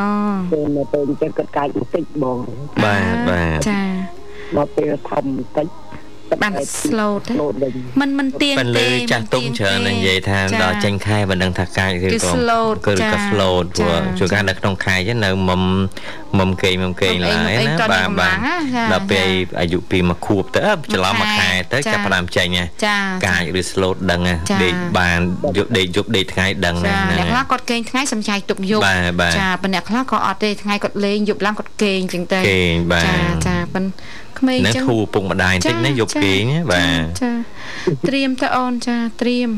Speaker 6: កូននៅតូចអញ្ចឹងក៏កាចបន្តិចបង
Speaker 3: បាទបាទ
Speaker 4: ចា
Speaker 6: ដល់ពេលធំបន្តិច
Speaker 4: បានស្លូត
Speaker 6: ស្លូតវិញ
Speaker 4: មិនមិនទៀង
Speaker 3: ប៉ិនលើ
Speaker 4: ទេ
Speaker 3: ចាស់ទុំច្រើននឹងនិយាយថាដ
Speaker 4: ចា
Speaker 3: ល់ចេញខែមិនដឹងថាកាចឬ
Speaker 4: គឺ
Speaker 3: ក៏
Speaker 4: slow
Speaker 3: គឺ
Speaker 4: ចា
Speaker 3: ក៏ slow
Speaker 4: ចា
Speaker 3: ព្រោះជួនកាលនៅក្នុងខែចឹងនៅមុំមុំគេងមុំគេងឡើ
Speaker 4: មុំ
Speaker 3: យ
Speaker 4: អីមុំអី
Speaker 3: ណា
Speaker 4: ត្រូវ
Speaker 3: បាទ
Speaker 4: តែកម្លាំង
Speaker 3: បាទ
Speaker 4: ណាចា
Speaker 3: ដល់ពេលអាយុពីមួយខួបទៅអើច្រឡំ
Speaker 4: មួ
Speaker 3: មួយ យ
Speaker 4: ខែ
Speaker 3: ខែទៅ
Speaker 4: ចា
Speaker 3: ចាប់ផ្ដើមចេញណា
Speaker 4: ចា
Speaker 3: កាចឬ slow ដឹងណា
Speaker 4: ចា
Speaker 3: ដេកបានយប់ដេកយប់ដេកថ្ងៃដឹងណា
Speaker 4: ចា
Speaker 3: ហ្នឹង
Speaker 4: អ្នកខ្លះ
Speaker 3: ហើយ
Speaker 4: គាត់គេងថ្ងៃសំចាយទុកយប់
Speaker 3: បាទបាទ
Speaker 4: ចាប៉ុន្តែអ្នកខ្លះក៏អត់ទេថ្ងៃគាត់លេងយប់ឡើងគាត់គេងចឹងទៅ
Speaker 3: គេងបាទ
Speaker 4: ចាចាប៉ុន្តែក្មេង
Speaker 3: នឹង
Speaker 4: ចឹង
Speaker 3: ធូរពុកម្ដាយបន្តិចណាយប់ពេងណាបាទ
Speaker 4: ចាត្រៀមទៅអូនចាត្រៀ ម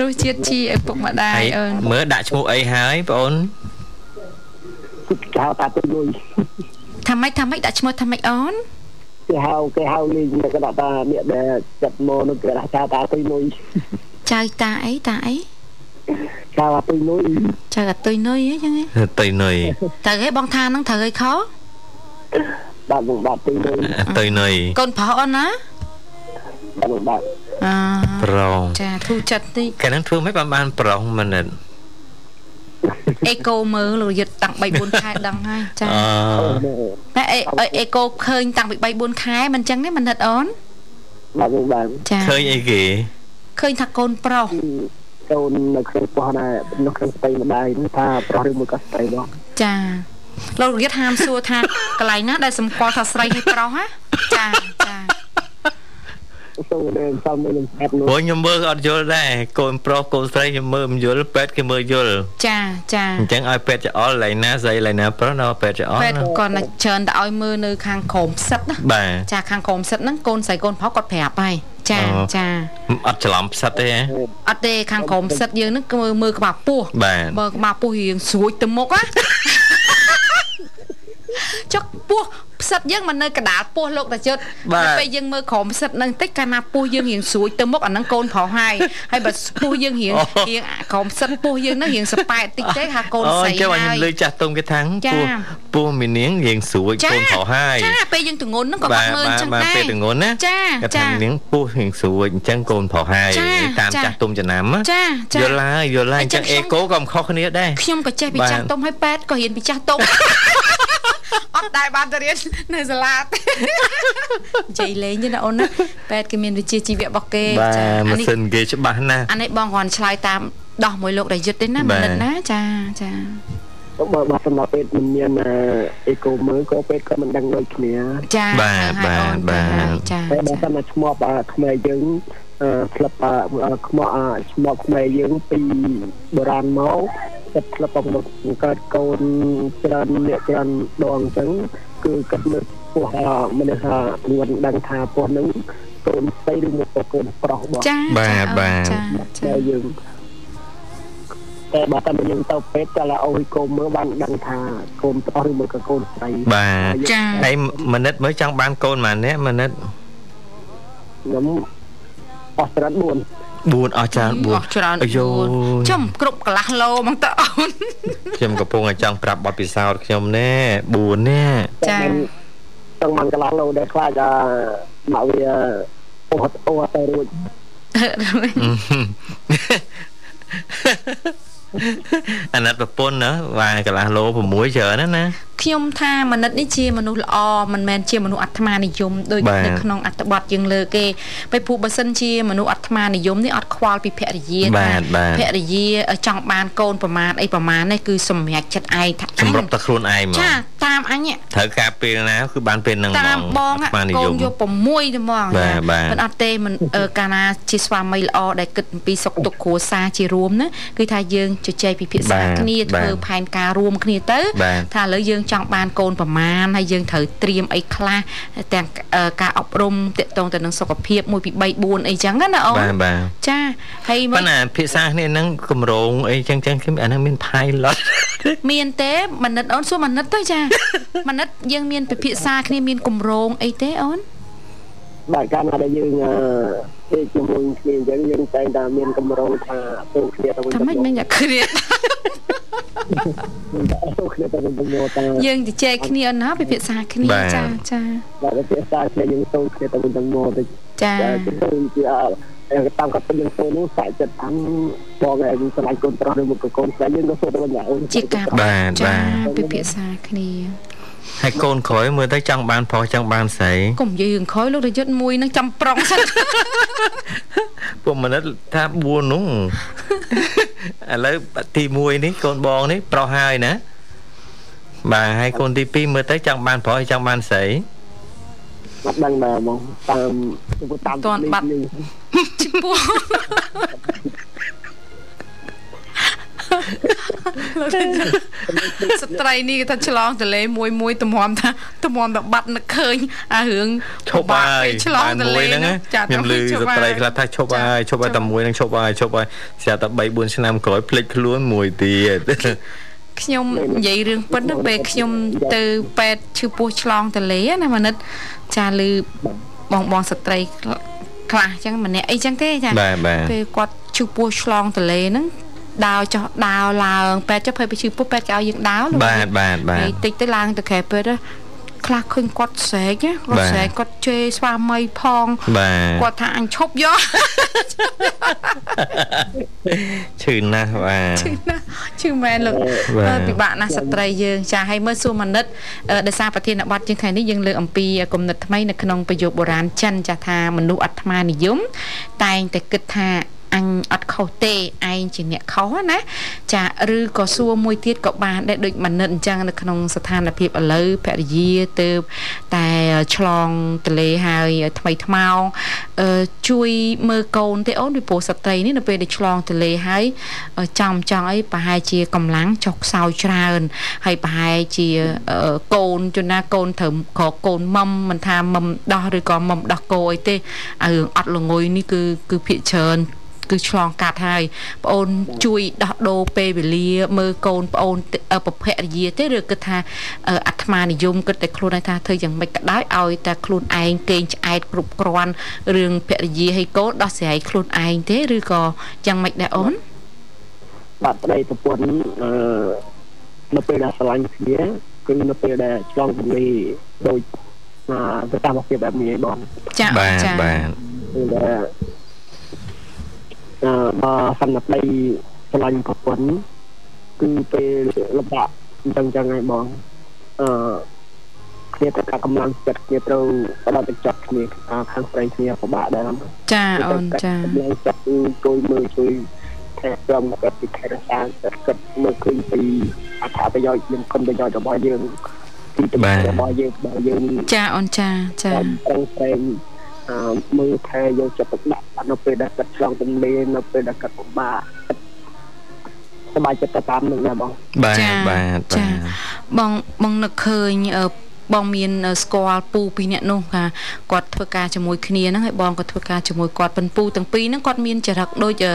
Speaker 4: រសជាតិជីឪពុកម្ដា
Speaker 3: ហើយយ
Speaker 4: អូន
Speaker 3: មើលដាក់ឈ្មោះអីហើយបងអូន
Speaker 6: ចោលតាទៅលុយ
Speaker 4: ថ ថាម៉េចថាម៉េចដាក់ឈ្មោះថាម៉េចអូន
Speaker 6: គេហៅគេហៅលេងគេដាក់ថាអ្នកដែលចិត្តមកនោះគេដាក់ថាតាទុយនុយ
Speaker 4: ចៅតាអីតាអី
Speaker 6: ថាតាទុយនុយ
Speaker 4: ចៅអាទុយនុយអីចឹងហ៎
Speaker 3: តុយនុយ
Speaker 4: ត្រូវហីបងថាហ្នឹងត្រូវហីខ
Speaker 6: ដាក់នឹងដាក់ទុយនុយ
Speaker 3: តុយនុយក
Speaker 4: ូនប្រុសអូនណា
Speaker 6: ដាក់នឹងដាក់
Speaker 4: អឺ
Speaker 3: ប្រង
Speaker 4: ចាធូរចិត្តតិច
Speaker 3: កាលហ្នឹងធ្វើមិនបានបានប្រងមិនទេ
Speaker 4: អេកូមើលរយុទ្ធតាំង3 4ខែដឹងហើយចា
Speaker 3: អ
Speaker 4: តែអេអេអេកូឃើញតាំងពី3 4ខែមិនចឹងទេមិនណិតអូន
Speaker 6: ដាក់នឹងដាក់
Speaker 4: ចា
Speaker 3: ឃើញអីគេ
Speaker 4: ឃើញថាកូនប្រុស
Speaker 6: ចូលនៅក្នុងពោះដែរនៅក្នុងស្ទីម្ដាយនោះថាប្រុសឬមួយក៏ស្ទីមក
Speaker 4: ចាលោករយុទ្ធហាមសួរថាកន្លែងណាដែលសម្គាល់ថាស្រីហើយប្រុសណាចាចា
Speaker 6: ចូលនៅសំនៅនឹងស្អាតនោះ
Speaker 3: ព្រោះខ្ញុំមើលអត់យល់ដែរកូនប្រុសកូនស្រីខ្ញុំមើលមិនយល់ពេទ្យគេមើលយល់
Speaker 4: ចាចា
Speaker 3: អញ្ចឹងឲ្យពេទ្យច្អល់ឡៃណាស្អីឡៃណាប្រុសនៅពេទ្យច្អល់
Speaker 4: ពេទ្យ
Speaker 3: ណា
Speaker 4: គាត់ណាច្រើនតែឲ្យមើលនៅខាងក្រោមផ្សិតណា
Speaker 3: បាទ
Speaker 4: ចាខាងក្រោមផ្សិតហ្នឹងកូនស្រីកូនប្រុសគាត់ប្រាប់ហើយចា
Speaker 3: អូ
Speaker 4: ចា
Speaker 3: អត់ច្រឡំផ្សិតទេហ៎
Speaker 4: អត់ទេខាងក្រោមផ្សិតយើងហ្នឹងគឺមើលមើលក្បាលពោះ
Speaker 3: បាទ
Speaker 4: បើក្បាលពោះរៀងស្រួចទៅមុខ ណា ចុកពោះផ្សិតយើងមកនៅកណ្ដាលពោះលោកតាជុតដល់ពេលយើងមើលក្រុមផ្សិតនឹងតិចកាលណាពោះយើងរៀងស្រួចទៅមុខអាហ្នឹងកូនប្រុសហើយហើយបើពោះយើងរៀងរៀងអាក្រុមផ្សិតពោះយើងនឹងរៀងសប៉ែតតិចទេថាកូនស្រី
Speaker 3: ចាំឲ្យ
Speaker 4: ហើ
Speaker 3: ខ្ញុំ
Speaker 4: យ
Speaker 3: លើចាស់ទុំគេថាង
Speaker 4: ចា
Speaker 3: ពោះពោះមីនាងរៀងស្រួចកូនប្រុសហើយ
Speaker 4: ចាពេលយើងទងន់ហ្នឹងក៏បា
Speaker 3: បាទបាទ
Speaker 4: ត់មើលចឹង
Speaker 3: បាទ
Speaker 4: ដែរ
Speaker 3: ពេលទៅងន់ណា
Speaker 4: ចា
Speaker 3: គាត់
Speaker 4: ចា
Speaker 3: ថានាងពោះរៀងស្រួចអញ្ចឹងកូនប្រុសហើយ
Speaker 4: ចា
Speaker 3: តាម
Speaker 4: ចា
Speaker 3: ចាស់ទុំចំណាំណា
Speaker 4: ចាចា
Speaker 3: យល់ហើយយល់ហើយ
Speaker 4: អ
Speaker 3: អ
Speaker 4: ញ្ចឹ
Speaker 3: ញ្ចឹ
Speaker 4: ង
Speaker 3: ងអេ
Speaker 4: ខ្ញុំ
Speaker 3: កូក៏មិនខុសគ្នាដែរ
Speaker 4: ខ្ញុំក៏ចេះពី
Speaker 3: បាទ
Speaker 4: ចាស់ទុំហើយប៉ែតក៏រៀនពីចាស់ ទុំ អត់ដែរបានទៅរៀននៅសាលាទេ និយាយលេងទេណាអូនណាប៉ែតគេមានវិជ្ជាជីវៈរបស់គេ
Speaker 3: បាទម៉ា
Speaker 4: អានេះ
Speaker 3: ស៊ីនគេច្បាស់ណាស់
Speaker 4: អានេះបងគ្រាន់ឆ្លើយតាមដោះមួយលោកដែលយុទ្ធទេណា
Speaker 3: បាទ
Speaker 4: មិនិតណាចាចា
Speaker 6: បើបើសម្រាប់ពេទ្យមិនមានអេកូមើលក៏ពេទ្យក៏មិនដឹងដូចគ្នា
Speaker 4: ចា
Speaker 3: បាទ
Speaker 4: ហើយអូន
Speaker 3: បាទ
Speaker 4: ហើយចា
Speaker 6: តែបើសិនតែឈ្មោះអាខ្មែរយើងអឺក្លឹបអាខ្មោះអាឈ្មោះខ្មែរយើងពីបុរាណមកចិត្តក្លឹបរបស់បង្កើតកូនច្រើនអ្នកច្រើនដងអញ្ចឹងគឺគិតមើលពោះអាមនុស្សថាខ្លួនដឹងថាពោះហ្នឹងកូនស្រីឬមកកូនប្រុសបង
Speaker 4: ចា
Speaker 3: បាទ
Speaker 4: អូន
Speaker 3: បាទ
Speaker 4: ចា
Speaker 6: តែ
Speaker 4: ចា
Speaker 6: យើងតែបើតែយើងទៅពេទ្យតែឡើយអូយកូនមើលបានដឹងថាកូនប្រុសឬមកក៏កូនស្រី
Speaker 3: បាទ
Speaker 4: ចា
Speaker 3: ហើយមនិតមើលចង់បានកូនម៉ាអ្នកមនិត
Speaker 6: ខ្ញុំអស់ច្រើន4
Speaker 3: 4អស់ច្រើន4
Speaker 4: អស់ច្រើន
Speaker 3: អាយូ
Speaker 4: ចំគ្រប់កន្លះឡូហ្មងតើអូ ន
Speaker 3: ខ្ញុំកំពុងតែចង់ប្រាប់បទពិសោធន៍ខ្ញុំណែ4ណែ
Speaker 4: ចា
Speaker 6: ចង់បានកន្លះលោដែលខ្លាចថាមកវាអត់អត់ទៅរួច
Speaker 3: អាណិតប្រពន្ធណាបាទកន្លះលោ6ច្រើនណាស់ណា
Speaker 4: ខ្ញុំថាមនិតនេះជាមនុស្សល្អមិនមែនជាមនុស្សអត្តមានិយមដូច
Speaker 3: បាទ
Speaker 4: នៅក្នុងអត្ថបទយើងលើកទេពេលព្រោះបើសិនជាមនុស្សអត្តមានិយមនេះអត់ខ្វល់ពីភរិយា
Speaker 3: បា
Speaker 4: ថា
Speaker 3: ទបាទ
Speaker 4: ភរិយាចង់បានកូនប្រមាណអីប្រមាណនេះគឺសម្រាប់ចិត្តឯងថាអញ
Speaker 3: សម្រាប់តែខ្លួនឯងហ្មង
Speaker 4: ចាតាមអញហ្នឹង
Speaker 3: ត្រូវការពេលណាគឺបានពេលហ្នឹងហ្មង
Speaker 4: តាមបងហ្នឹង
Speaker 3: បាននិ
Speaker 4: កូ
Speaker 3: យ
Speaker 4: ន
Speaker 3: ម
Speaker 4: យក6ទេហ្មង
Speaker 3: បាទបាទ
Speaker 4: មិនអត់ទេមិនអឺកាលណាជាស្វាមីល្អដែលគិតអំពីសុខទុក្ខគ្រួសារជារួមណាគឺថាយើងជជែកពិភាក្សាគ្នាធ្វើផែនការរួមគ្នាទៅ
Speaker 3: បាទ
Speaker 4: ថាឥឡូវយើងចង់បានកូនប្រមាណហើយយើងត្រូវត្រៀមអីខ្លះទាំងអឺការអប់រំតាក់ទងទៅនឹងសុខភាព1 2 3 4អីចឹងណាណាអូ
Speaker 3: បាទ
Speaker 4: ន
Speaker 3: បាទ
Speaker 4: ចាហើយម
Speaker 3: ប៉ុ
Speaker 4: ក
Speaker 3: ន្តែភាសាគ្នាហ្នឹងកម្រងអីចឹងចឹងខ្ញុំអាហ្នឹងមាន pilot
Speaker 4: មានទេមនិតអូនសួរមនិតទៅ ចា មនិតយើងមានពិភាក្សាគ្នាមានគម្រោងអីទេអូន
Speaker 6: បើកាលណាដែលយើងពេកជាមួយគ្នាអញ្ចឹងយើងតែងតែមានកម្រងថាចូលគ្នាទៅវិញ
Speaker 4: ថា
Speaker 6: ទៅ
Speaker 4: ម៉េចមិញតែគ្រៀត
Speaker 6: ចូលគ្នាទៅវិញទៅមកតែ
Speaker 4: យើងជជែកគ្នាអូនណាពិភាក្សាគ្នា
Speaker 3: បាទ
Speaker 4: ចាចា
Speaker 6: បើភាសាគ្នាយើងចូលគ្នាទៅវិញទៅមកទៅ
Speaker 4: ចា
Speaker 6: គឺជាតាមកត់យើងចូលនោះសាច់ចិត្តអំបងឯងសម្រាប់កូនប្រុសឬមកកូនស្រីយើងក៏ចូលទៅវិញដែរអូន
Speaker 4: ជាការ
Speaker 3: បាទបា
Speaker 4: ចា
Speaker 3: ទ
Speaker 4: ពិភាក្សាគ្នា
Speaker 3: ហើយកូនក្រោយមើលទៅចង់បានប្រុសចង់បានស្រី
Speaker 4: កុំនិយាយរឿងខ້ອຍលោករយុទ្ធមួយនឹងចាំប្រុងសិន
Speaker 3: ពួកមនុស្សថា4នោះ ឥឡូវទី1នេះកូនបងនេះប្រុសហើយណាបាទហើយកូនទី2មើលទៅចង់បានប្រុសចង់បានស្រី
Speaker 6: បាត់ដឹងដែរហ្មងតាមតាម
Speaker 4: ឈ្មោះ ស្ត្រីនេះគេថាឆ្លងទន្លេមួយមួយទំមថាទំមតបាត់នឹកឃើញអារឿង
Speaker 3: ឈប់ហើយ
Speaker 4: ពិបាកពេលឆ្លងទន្លេហ្នឹង
Speaker 3: ចាខ្ញុំលឺ
Speaker 4: ទៅ
Speaker 3: ស្ត្រីខ្លះថាឈប់ហើយឈប់ហើយតែមួយហ្នឹងឈប់ហើយឈប់ហើយស្រាប់តែ3 4ឆ្នាំក្រោយភ្លេចខ្លួនមួយទៀត
Speaker 4: ខ្ញុំនិយាយរឿងពិតណាពេលខ្ញុំទៅប៉ែតឈឺពោះឆ្លងតលេណាមនិតចាលឺបងបងស្ត្រីខ្លះអញ្ចឹងម្នាក់អីចឹងទេចា
Speaker 3: បាទបាទ
Speaker 4: ពេលគាត់ឈឺពោះឆ្លងតលេហ្នឹងដើរចុះដើរឡើងប៉ែតចុះពេលឈឺពោះប៉ែតគេឲ្យយើងដើរលោក
Speaker 3: បាទបាទបាទ
Speaker 4: ហើយតិចទៅឡើងទៅក្រែពេទ្យខ្លះឃើញគាត់ស្រែកណាគា
Speaker 3: បា
Speaker 4: ត់
Speaker 3: ទ
Speaker 4: ស្រែកគាត់ជេរស្វាមីផង
Speaker 3: បាទ
Speaker 4: គាត់ថាអញឈប់យក
Speaker 3: ឈឺណាស់បាទ
Speaker 4: ឈឺណាស់ឈឺមែនលោក
Speaker 3: បាទ
Speaker 4: អឺពិបាកណាស់ស្ត្រីយើងចាហើយមើលសួរមនិតអឺដោយសារប្រធានបទយើងថ្ងៃនេះយើងលើកអំពីគំនិតថ្មីនៅក្នុងប្រយោគបុរាណចិនចាស់ថាមនុស្សអត្មានិយម តែងតែគិតថាអញអត់ខុសទេឯងជាអ្នកខុសណាចាឬក៏សួរមួយទៀតក៏បានដែរដូចមនិតអញ្ចឹងនៅក្នុងស្ថានភាពឥឡូវភរិយាទៅតែឆ្លងទលេហើយថ្មីថ្មោងអឺជួយមើលកូនទេអូនពីព្រោះស្ត្រីនេះនៅពេលដែលឆ្លងទលេហើយអឺចំចង់អីប្រហែលជាកម្លាំងចុះខ្សោយច្រើនហើយប្រហែលជាអឺកូនជួនណាកូនត្រូវក្រកូនមុំមិនថាមុំដោះឬក៏មុំដោះគោអីទេហើយរឿងអត់ល្ងុយនេះគឺគឺភាកច្រើន គឺឆ្លងកាត់ហើយប្អូនជួយដោះដូរពេលវេលាមើលកូនប្អូនទេអឺប្រភរិយាទេឬគិតថាអឺអាត្មានិយមគិតតែខ្លួនឯងថាធ្វើយ៉ាងម៉េចក៏ដោយឲ្យតែខ្លួនឯងគេងឆ្អែតគ្រប់គ្រាន់រឿងភរិយាឲ្យកូនដោះស្រាយខ្លួនឯងទេឬក៏យ៉ាងម៉េចដែរអូន
Speaker 6: បាទប្តីប្រពន្ធអឺនៅពេលដែលស្រឡាញ់គ្នាគឺនៅពេលដែលឆ្លងពន្លីដូចអាទៅតាមភាពបែបនេះបង
Speaker 4: ចា
Speaker 3: បា
Speaker 4: ចា
Speaker 3: ទបាទ
Speaker 6: គឺថាអឺបើសំណាក់ប្តីស្រឡាញ់ប្រពន្ធគឺពេលលំបាកអញ្ចឹងចឹងហើយបងអឺគ្នាត្រូវការកម្លាំងចិត្តគ្នាត្រូវបដិបត្តិចិត្តគ្នាអាខាងស្រីគ្នាពិបាកដែរណា
Speaker 4: ចាអូនចា
Speaker 6: លើចាប់ជួយមើលជួយថែទាំក៏ពិខិរសាស្ត្រកិតមើលឃើញពីអត្ថប្រយោជន៍និងគុណប្រយោជន៍របស់យើងទីតំណាងរបស់យើងបើយើង
Speaker 4: ចាអូនចាចា
Speaker 6: តាមប្រឹងប្រែងអឺមើលថែយកចិត្តទុកដាក់នៅពេលដែលកាត់ឆ្លងទន្លេនៅពេលដែលកាត់ពិបាកសប្បាយចិត្តទៅតាមនឹងដែរបង
Speaker 3: បាទបាទបាទ
Speaker 4: បងបងនឹកឃើញអឺបងមានអឺស្គាល់ពូពីរអ្នកនោះថាគាត់ធ្វើការជាមួយគ្នាហ្នឹងហើយបងក៏ធ្វើការជាមួយគាត់ប៉ុនពូទាំងពីរហ្នឹងគាត់មានចរិតដូចអឺ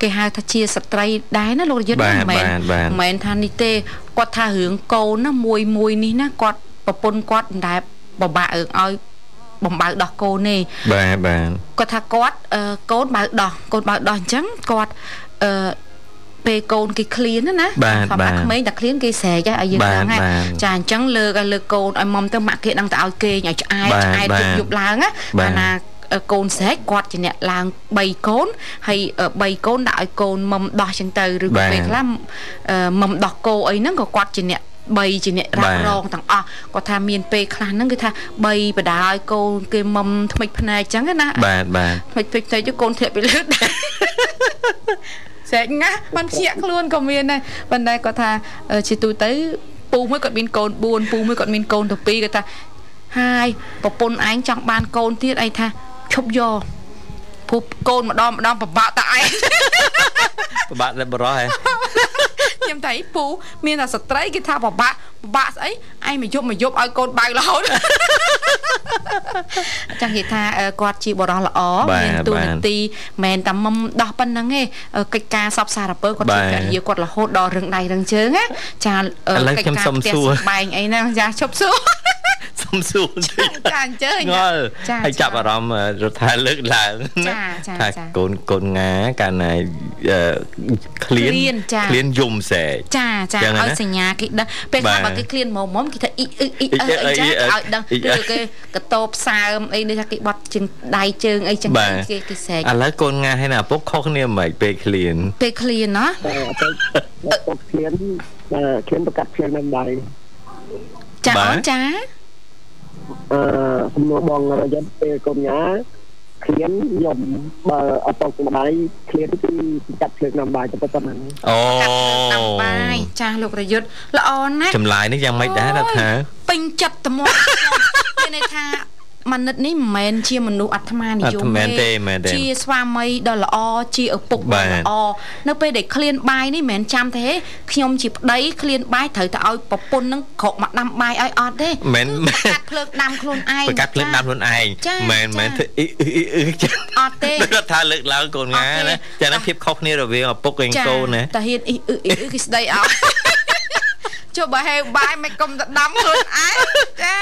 Speaker 4: គេហៅថាជាស្ត្រីដែរណាលោករយុទ្ធ
Speaker 3: បាទ
Speaker 4: មិន
Speaker 3: បាទបាទ
Speaker 4: មែនមិនមែនថានេះទេគាត់ថារឿងកូនណាមួយមួយនេះណាគាត់ប្រពន្ធគាត់មិនដែលបបាក់អើងឲ្យបំបើដោះកូនទេ
Speaker 3: បាទបាទ
Speaker 4: គាត់ថាគាត់អឺកូនបើកដោះកូនបើកដោះអញ្ចឹងគាត់អឺពេលកូនគេឃ្លានណាណា
Speaker 3: បាទ
Speaker 4: ធម្ម
Speaker 3: បាទ
Speaker 4: តាក្មេងតែឃ្លានគេស្រែកហើយឲ្យយើង
Speaker 3: បាទ
Speaker 4: ដឹងហ่ะ
Speaker 3: បាទ
Speaker 4: ចាអញ្ចឹងលើកឲ្យលើកកូនឲ្យមុំទៅម៉ាក់គេដឹងតែឲ្យគេងឲ្យឆ្អែត
Speaker 3: បាទ
Speaker 4: ឆ្អែត
Speaker 3: បាទ
Speaker 4: យប់យប់ឡើងណា
Speaker 3: បាទ
Speaker 4: អាណាអឺកូនស្រែកគាត់ជាអ្នកឡើង3កូនហើយអឺ3កូនដាក់ឲ្យកូនមុំដោះអញ្ចឹងទៅឬ
Speaker 3: បា
Speaker 4: ក៏
Speaker 3: ទ
Speaker 4: ពេលខ្លះអឺមុំដោះគោអីហ្នឹងក៏គាត់ជាអ្នក3ជាអ្នករ៉ា
Speaker 3: បាទ
Speaker 4: ប់រង ទាំងអស់គាត់ថាមានពេលខ្លះហ្នឹងគឺថា3បដាឲ្យកូនគេមុំថ្មិចភ្នែកអញ្ចឹងណា
Speaker 3: បាទ បាទ
Speaker 4: មិនភ្លេចភ្លេចទៅកូនធ្លាក់ពីលើដែរស្រែកងាស់ມັນភ្ញាក់ខ្លួនក៏មានដែរប៉ុន្តែគាត់ថាអឺជាទូទៅពូមួយគាត់មានកូន4ពូមួយគាត់មានកូនទៅ2គាត់ថាហាយប្រពន្ធឯងចង់បានកូនទៀតឯងថាឈប់យកព្រោះកូនម្ដងម្ដងពិបាកតឯង
Speaker 3: ពិបាក តែបរោះហ៎
Speaker 4: ខ្ញុំតែឯងពូមានតែស្ត្រីគេថាពិបាកពិបាកស្អីឯងមកយប់មកយប់ឲ្យកូនបើករហូត ចង់និយាយថា អឺគាត់ជាបរិះល្អ
Speaker 3: បាទ
Speaker 4: មានទូ
Speaker 3: បាទ
Speaker 4: នាទីមែនតែមុំដោះប៉ុណ្ណឹងទេអឺកិច្ចការសពសារពើគាត់
Speaker 3: បា
Speaker 4: ជា
Speaker 3: ទ
Speaker 4: ភរិយាគាត់រហូតដល់រឿងដៃរឿងជើងណាចាអឺ
Speaker 3: ឥឡូវ
Speaker 4: កិច្ច
Speaker 3: ខ្ញុំ
Speaker 4: ការ
Speaker 3: សុំ
Speaker 4: ផ្ទះ
Speaker 3: សួរ
Speaker 4: សម្បែងអីហ្នឹងចាឈប់សួរ
Speaker 3: សុំសួរបន្តិច
Speaker 4: ចាអញ្ជើញ
Speaker 3: ងល់
Speaker 4: ចា
Speaker 3: ហើយចាប់អារម្មណ៍អឺរដ្ឋាលើកឡើង
Speaker 4: ចា
Speaker 3: ណា
Speaker 4: ចា
Speaker 3: ថា
Speaker 4: ចា
Speaker 3: កូនកូនងាកាលណាអឺឃ្លៀន
Speaker 4: ឃ្លានចា
Speaker 3: ឃ្លៀនយំស្រែក
Speaker 4: ចាចា
Speaker 3: ចឹងហើយ
Speaker 4: ឲ្យ
Speaker 3: ណា
Speaker 4: សញ្ញាគេដឹងពេលខ្លះ
Speaker 3: បាទ
Speaker 4: បើគេឃ្លានមុំមុំគេថាអ៊ីអ៊ីអ៊ី
Speaker 3: អ៊ី
Speaker 4: អឺអីចឹង
Speaker 3: អ៊ីអ៊ី
Speaker 4: ឲ្យដឹង
Speaker 3: អ៊ីអ៊ី
Speaker 4: ឬគេកតោបសើមអីនេះថាគេបត់ជើងដៃជើងអីចឹង
Speaker 3: បាទ
Speaker 4: គេគេស្រែក
Speaker 3: ឥឡូវកូនងាហើយណាឪពុកខុសគ្នាមិនពេកឃ្លៀន
Speaker 4: ពេលឃ្លានណា
Speaker 6: តែអត់ទៅពុកឃ្លានឃ្លានប្រកាសឃ្លានមិនដែរ
Speaker 4: ចាអូនចា
Speaker 6: អឺសំណួរបងរយិនពេលកូនញ៉ាឃ្លានយំបើអត់ទៅម្ដាយឃ្លានគឺចាត់ឃ្លានមិនដែរតែប៉ុណ្ណឹង
Speaker 3: អូ
Speaker 4: កាត់ទៅតាមបាយចាស់លោករយុទ្ធល្អណាស់
Speaker 3: ចម្លើយនេះយ៉ាងម៉េចដែររដ្ឋា
Speaker 4: ពេញចិត្តត្ម ង មានន័យថាមនុស្សនេះមិនមែនជាមនុស្សអាត្មានិយម
Speaker 3: អត់មែនទេមែនទេ
Speaker 4: ជាស្វាមីដ៏ល្អជាឪពុក
Speaker 3: បាទ
Speaker 4: ដ៏ល្អនៅពេលដែលឃ្លានបាយនេះមិនមែនចាំទេខ្ញុំជាប្តីឃ្លានបាយត្រូវតែឲ្យប្រពន្ធនឹងក្រកមកដាំបាយឲ្យអត់ ទេ
Speaker 3: មែន
Speaker 4: គឺប្រកាត់ភ្លើងដាំខ្លួនឯង
Speaker 3: ប្រកាសឃ្លៀនតាមខ្លួនឯង
Speaker 4: ចា
Speaker 3: មែន
Speaker 4: ចា
Speaker 3: មែនធ្វើអ៊ីអ៊ីអ៊ីអ៊ីចឹង
Speaker 4: អត់ទេ
Speaker 3: រដ្ឋាលើកឡើងកូនងា
Speaker 4: អត់ទេ
Speaker 3: ណាចាណាភាពខុសគ្នារវាងឪពុកនិងកូនណា
Speaker 4: តាហ៊ានអ៊ីអ៊ីអ៊ីគឺស្ដីអោ ចុះបើហេវបាយមិនកុំទៅដំខ្លួនឯង ចា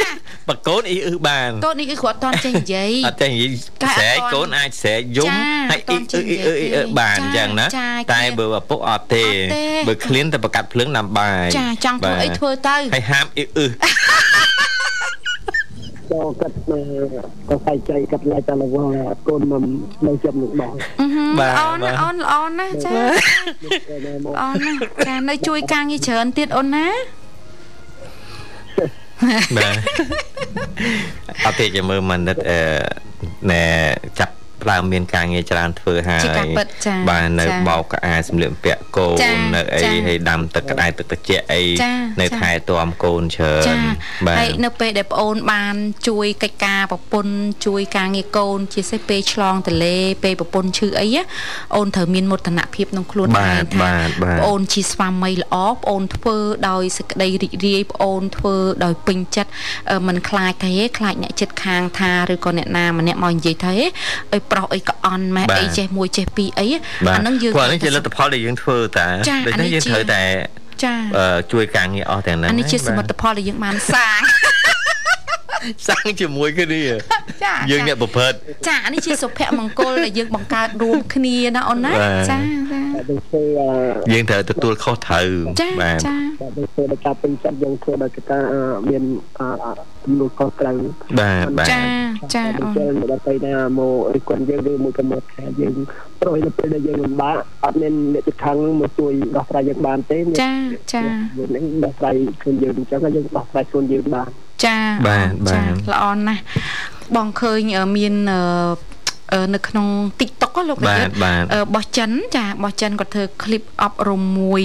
Speaker 3: បើកូនអ៊ីអ៊ឺបាន
Speaker 4: តូននេះគឺគ្រាន់តន់ចេញនិយាយ
Speaker 3: អត់ទេនិយាយ
Speaker 4: តែអត់
Speaker 3: ស្រែក
Speaker 4: ទាន់
Speaker 3: កូនអាចស្រែកយំ
Speaker 4: ចា
Speaker 3: ហើយ
Speaker 4: អ
Speaker 3: អ៊ី
Speaker 4: ត់ទា
Speaker 3: អ៊ឺ
Speaker 4: ន់
Speaker 3: អ៊ីអ៊ឺអ៊ីអ៊ឺបាន
Speaker 4: ចា
Speaker 3: អញ្ចឹងណា
Speaker 4: ចា
Speaker 3: តែ
Speaker 4: គ្នា
Speaker 3: បើឪពុកអត់ទេ
Speaker 4: អត់ទេ
Speaker 3: បើឃ្លានតែប្រកាត់ភ្លើងដាំបាយ
Speaker 4: ចាចង់ធ្វើអីធ្វើទៅ
Speaker 3: បាទហើយហាមអ៊ីអ៊ឺ
Speaker 6: ចូលគិតថាក៏ស្័យចៃគិតឡើយតែលវលកូនមិននៅជិតនឹងបង
Speaker 4: អឺហឹម
Speaker 3: បាទ
Speaker 4: ល្អណា
Speaker 3: បាទ
Speaker 4: អូនល្អណាស់ចាល្អណាស់ចានៅជួយការងារច្រើនទៀតអូនណា
Speaker 3: បាទអត់ទេចាំមើលមនិតអឺណែចាប់ផ្ដើមមានការងារច្រើនធ្វើហើយ
Speaker 4: ជាការពិតចា
Speaker 3: បាទនៅ
Speaker 4: ចា
Speaker 3: បោកក្អាយសម្លៀកបំពាក់កូ
Speaker 4: ចា
Speaker 3: ននៅអី
Speaker 4: ចា
Speaker 3: ហើយដាំទឹកក្តៅទឹកត្រជាក់អី
Speaker 4: ចា
Speaker 3: នៅ
Speaker 4: ចា
Speaker 3: ថែទាំកូនច្រើ
Speaker 4: ចា
Speaker 3: ន
Speaker 4: ហើយនៅពេលដែលប្អូនបានជួយកិច្ចការប្រពន្ធជួយការងារកូន ជាពិសេសពេលឆ្លងទន្លេពេលប្រពន្ធឈឺអីណាអូនត្រូវមានមោទនភាពក្នុងខ្លួនឯ
Speaker 3: បាទ
Speaker 4: ងថា
Speaker 3: បាទបាទ
Speaker 4: ប្អូនជាស្វាមីល្អប្អូនធ្វើដោយសេចក្តីរីករាយប្អូនធ្វើដោយពេញចិត្តអឺមិនខ្លាចទេខ្លាចអ្នកចិត្តខាងថាឬក៏អ្នកណាម្នាក់មកនិយាយថាហេអីប្រុសអីក៏អន់ម៉ែ
Speaker 3: បាទ
Speaker 4: អីចេះមួយចេះពីរអី
Speaker 3: បាទ
Speaker 4: អាហ្នឹងយើង
Speaker 3: ព្រោះអាហ្នឹងជាលទ្ធផលដែលយើងធ្វើតា
Speaker 4: ចា
Speaker 3: ដូច្នេះ
Speaker 4: អានេះ
Speaker 3: យើង
Speaker 4: ជា
Speaker 3: ត្រូវតែ
Speaker 4: ចា
Speaker 3: អឺជួយការងារអស់ទាំងហ្នឹង
Speaker 4: អានេះជាសមិទ្ធ
Speaker 3: បាទ
Speaker 4: ផលដែលយើងបានសាង
Speaker 3: សាំងជាមួយគ្នា
Speaker 4: ចា
Speaker 3: យើង
Speaker 4: ចា
Speaker 3: អ្នកប្រព្រឹត្ត
Speaker 4: ចាអានេះជាសុភមង្គលដែលយើងបង្កើតរួមគ្នាណាអូនណា
Speaker 3: បាទ
Speaker 4: ចា
Speaker 6: តែដូចធ្វើអ
Speaker 3: យើងត្រូវទទួលខុសត្រូវ
Speaker 4: ចាចាចា
Speaker 6: ឺតែដូចធ្វើដោយការពេញចិត្តយើងធ្វើដោយការអឺមានអឺទំនួលខុសត្រូវ
Speaker 3: បាទបាទ
Speaker 4: ចាចា
Speaker 6: តែ
Speaker 4: អូន
Speaker 6: ដូចមកដល់ពេលណាមករិះគន់យើងឬមួយក៏មកខែយើងប្រុសនៅពេលដែលយើងលំបាកអត់មានអ្នកជិតខាងនឹងមកជួយដោះស្រាយយើងបានទេមាន
Speaker 4: ចាចា
Speaker 6: យើងនឹងដោះស្រាយខ្លួនយើងអញ្ចឹងហើយយើងដោះស្រាយខ្លួនយើងបាន
Speaker 4: ចា
Speaker 3: បាទបា
Speaker 4: ចា
Speaker 3: ទ
Speaker 4: ល្អណាស់បងឃើញអឺមានអឺអឺនៅក្នុង TikTok ហ៎លោក
Speaker 3: បាទ
Speaker 4: យុទ្ធ
Speaker 3: បាទ
Speaker 4: អឺបោះចិនចាបោះចិនគាត់ធ្វើឃ្លីបអប់រំមួយ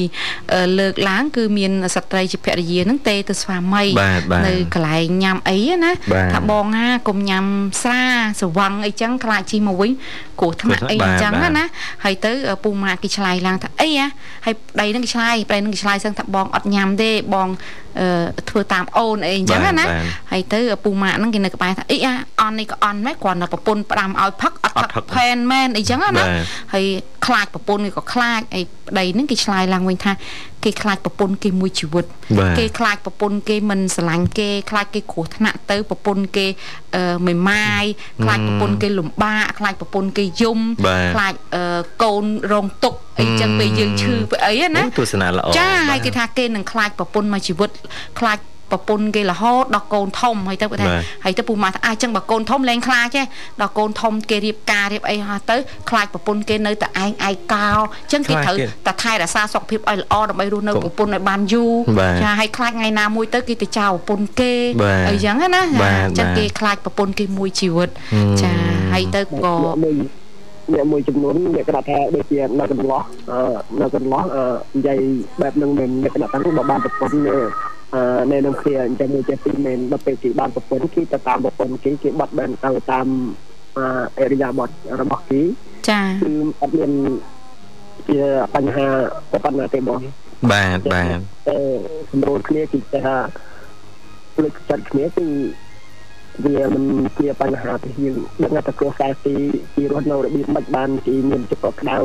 Speaker 4: អឺលើកឡើងគឺមានស្ត្រីជាភរិយាហ្នឹងទេទៅស្វាមី
Speaker 3: បាទបាទ
Speaker 4: នៅកន្លែងញ៉ាំអីណា
Speaker 3: បាទ
Speaker 4: ថាបងណាកុំញ៉ាំស្រាស្រវឹងអីចឹងខ្លាចជីមកវិញគ្រោះថ្នាក់
Speaker 3: គ្រោះថ្នាក់
Speaker 4: អី
Speaker 3: បាទ
Speaker 4: ចឹង
Speaker 3: បាទ
Speaker 4: ណាហើយទៅឪពូម៉ាក់គេឆ្លើយឡើងថាអីហ៎ហើយប្តីនឹងគេឆ្លើយប្តីនឹងគេឆ្លើយសឹងថាបងអត់ញ៉ាំទេបងអឺធ្វើតាមអូនអីចឹង
Speaker 3: បាទ
Speaker 4: ណា
Speaker 3: បាទ
Speaker 4: ហើយទៅឪពូម៉ាក់ហ្នឹងគេនៅក្បែរថាអីហ៎អន់នេះក៏អន់ដែរគ្រាន់តែប្រពន្ធផ្ដាំឲ្យផឹកអត់
Speaker 3: អត់ផឹ
Speaker 4: ផឹ
Speaker 3: ក
Speaker 4: កផែនមែនអីចឹង
Speaker 3: បា
Speaker 4: ណា
Speaker 3: ទ
Speaker 4: ហើយខ្លាចប្រពន្ធគេក៏ខ្លាចហើយប្តីហ្នឹងគេឆ្លើយឡើងវិញថាគេខ្លាចប្រពន្ធគេមួយជីវិត
Speaker 3: បាទ
Speaker 4: គេខ្លាចប្រពន្ធគេមិនស្រឡាញ់គេខ្លាចគេគ្រោះថ្នាក់ទៅប្រពន្ធគេអឺមេម៉ាយខ្លាចប្រពន្ធគេលំបាកខ្លាចប្រពន្ធគេយំ
Speaker 3: បាទ
Speaker 4: ខ្លាចអឺកូនរងទុក្ខអីចឹ
Speaker 3: ហ៊ឹ
Speaker 4: ង
Speaker 3: ម
Speaker 4: ពេលយើងឈឺពេលអីហ្នឹងណា
Speaker 3: អូទស្សនៈល្អ
Speaker 4: ចា
Speaker 3: បាទ
Speaker 4: ហើយគេថាគេនឹងខ្លាចប្រពន្ធមកជីវិតខ្លាចប្រពន្ធគេរហូតដល់កូនធំហើយទៅគាត់ថា
Speaker 3: បាទ
Speaker 4: ហើយទៅពូម៉ាក់ថាអាចឹងបើកូនធំលែងខ្លាចទេដល់កូនធំគេរៀបការរៀបអីហោះទៅខ្លាចប្រពន្ធគេនៅតែឯងឯកោចឹងគេ
Speaker 3: ខ្លាច
Speaker 4: ត្រូវ
Speaker 3: ទៀត
Speaker 4: តែថែរក្សាសុខភាពឲ្យល្អដើម្បីរស់នៅ
Speaker 3: កុំ
Speaker 4: ប្រពន្ធឲ្យបានយូ
Speaker 3: បា
Speaker 4: រ
Speaker 3: ទ
Speaker 4: ចា ហើយខ្លាចថ្ងៃណាមួយទៅគេទៅចោលប្រពន្ធគេ
Speaker 3: បាទ
Speaker 4: អីចឹងណា
Speaker 3: បាទ
Speaker 4: អញ្ចឹង
Speaker 3: បាទ
Speaker 4: គេខ្លាចប្រពន្ធគេមួយជីវិត
Speaker 3: ហឹម
Speaker 4: ចាហើយទៅក៏
Speaker 6: អ្នកមួយអ្នកមួយចំនួនអ្នកគាត់ថាដូចជានៅកន្លោះអឺនៅកន្លោះអឺនិយាយបែបហ្នឹងមែនអ្នកគាត់ថានោះបើបានប្រពន្ធអឺអឺនៅក្នុងគ្នាអញ្ចឹងមួយចេះពីរមែនដល់ពេលគេបានប្រពន្ធគេទៅតាមប្រពន្ធគេគេបាត់បែនទៅតាមអឺអេរីយ៉ាបត់របស់គេ
Speaker 4: ចា
Speaker 6: គឺអត់មានជាបញ្ហាប៉ុណ្ណាទេបង
Speaker 3: បាទបាទ
Speaker 6: តែសម្រួលគ្នាគឺចេះថាលើកចិត្តគ្នាគឺវាមិនជាបញ្ហាទេយើងដឹងថាគ្រួសារទីទីរស់នៅរបៀបមិនបានគេមានចិត្តកក់ក្ដៅ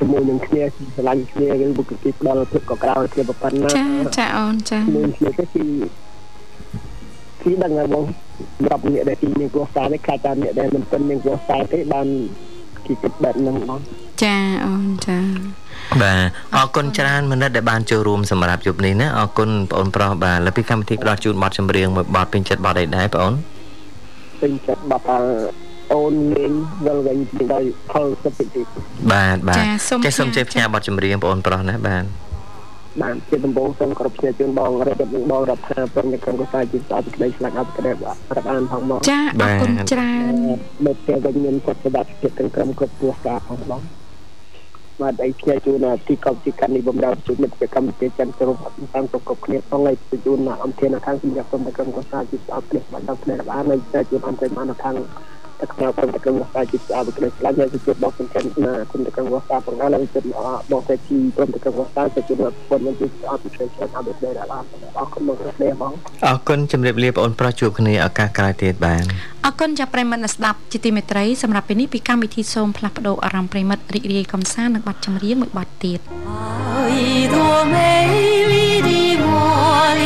Speaker 6: ជាមួយនឹងគ្នាគឺស្រឡាញ់គ្នាឬបុគ្គលិកផ្ដល់ភាពកក់ក្ដៅគ្នាប៉ុណ្ណា
Speaker 4: ចាចាអូនចា
Speaker 6: មួយគ្នាទៅគឺគឺដឹងហើយបងសម្រាប់អ្នកដែលទីមានគ្រួសារនេះខ្លាចតែអ្នកដែលមិនពេញមានគ្រួសារទេបានគេគិតបែបហ្នឹងបង
Speaker 4: ចាអូនចា
Speaker 3: បាទអរគុណច្រើនមនុស្សដែលបានចូលរួមសម្រាប់យប់នេះណាអរគុណបងអូនប្រុសបាទលើពីកម្មវិធីផ្ដល់ជូនបទចម្រៀងមួយបទពេញចិត្តបទអីដែរបងអូន
Speaker 6: ពេញចិត្តបាត់អើអូនលេងវិលវិញពីដោយខលសុភិតិ
Speaker 3: បាទបាទ
Speaker 4: ចាសូម
Speaker 3: ចេះសូម
Speaker 4: ផ្ញើ
Speaker 3: ចេះផ្ញើបទចម្រៀងបងអូនប្រុសណាបាទ
Speaker 6: បានជាដំបូងសូមគោរពជាជូនបងរិទ្ធិនិងបងរដ្ឋាភិបាលក្រុមកសាជាស្អាតពីក្តីស្លាកអត់ក្រែបរាប់អានផងមក
Speaker 4: ចាអរគុណច្រើន
Speaker 6: មកពេលវិញមានសុខសប្បាយភាពទាំងក្រុមគ្រប់គ្រួសារផងបងបាទអីផ្ញើជូនទីកប់ទីកាន់នេះបំរើជូនមិត្តភក្តិកម្ពុជាចិនគ្រប់តាមគ្រប់គ្រប់គ្នាផងហើយជូនអំធានខាងសម្រាប់ក្រុមក្រុមកសាជាស្អាតពីក្តីស្លាកអត់ក្រែបអានហើយជូនអំធានខាងតែខ្ញុំសូមតែក្រុមសាជាស្អាតពីក្តីស្លាកហើយជូនបងសំខាន់ណាគុណតែក្រុមសាផងហើយជូនបងតែទីក្រុមក្រុមសាជូនពលមិនទីស្អាតពីក្តីស្លាកអត់ក្រែបអានអរគុណមកគ្នាបង
Speaker 3: អរគុណជម្រាបលាបងអូនប្រុសជួបគ្នាឱកាសក្រោយទៀតបាទ
Speaker 4: អរគុណចាប្រិយមិត្តអ្នកស្ដាប់ជាទីមេត្រីសម្រាប់ពេលនេះពីកម្មវិធីសូមផ្លាស់ប្ដូរអារម្មណ៍ប្រិយមិត្តរីករាយកំសាន្តនឹងបទចម្រៀងមួយបទទៀត
Speaker 2: 爱多美丽的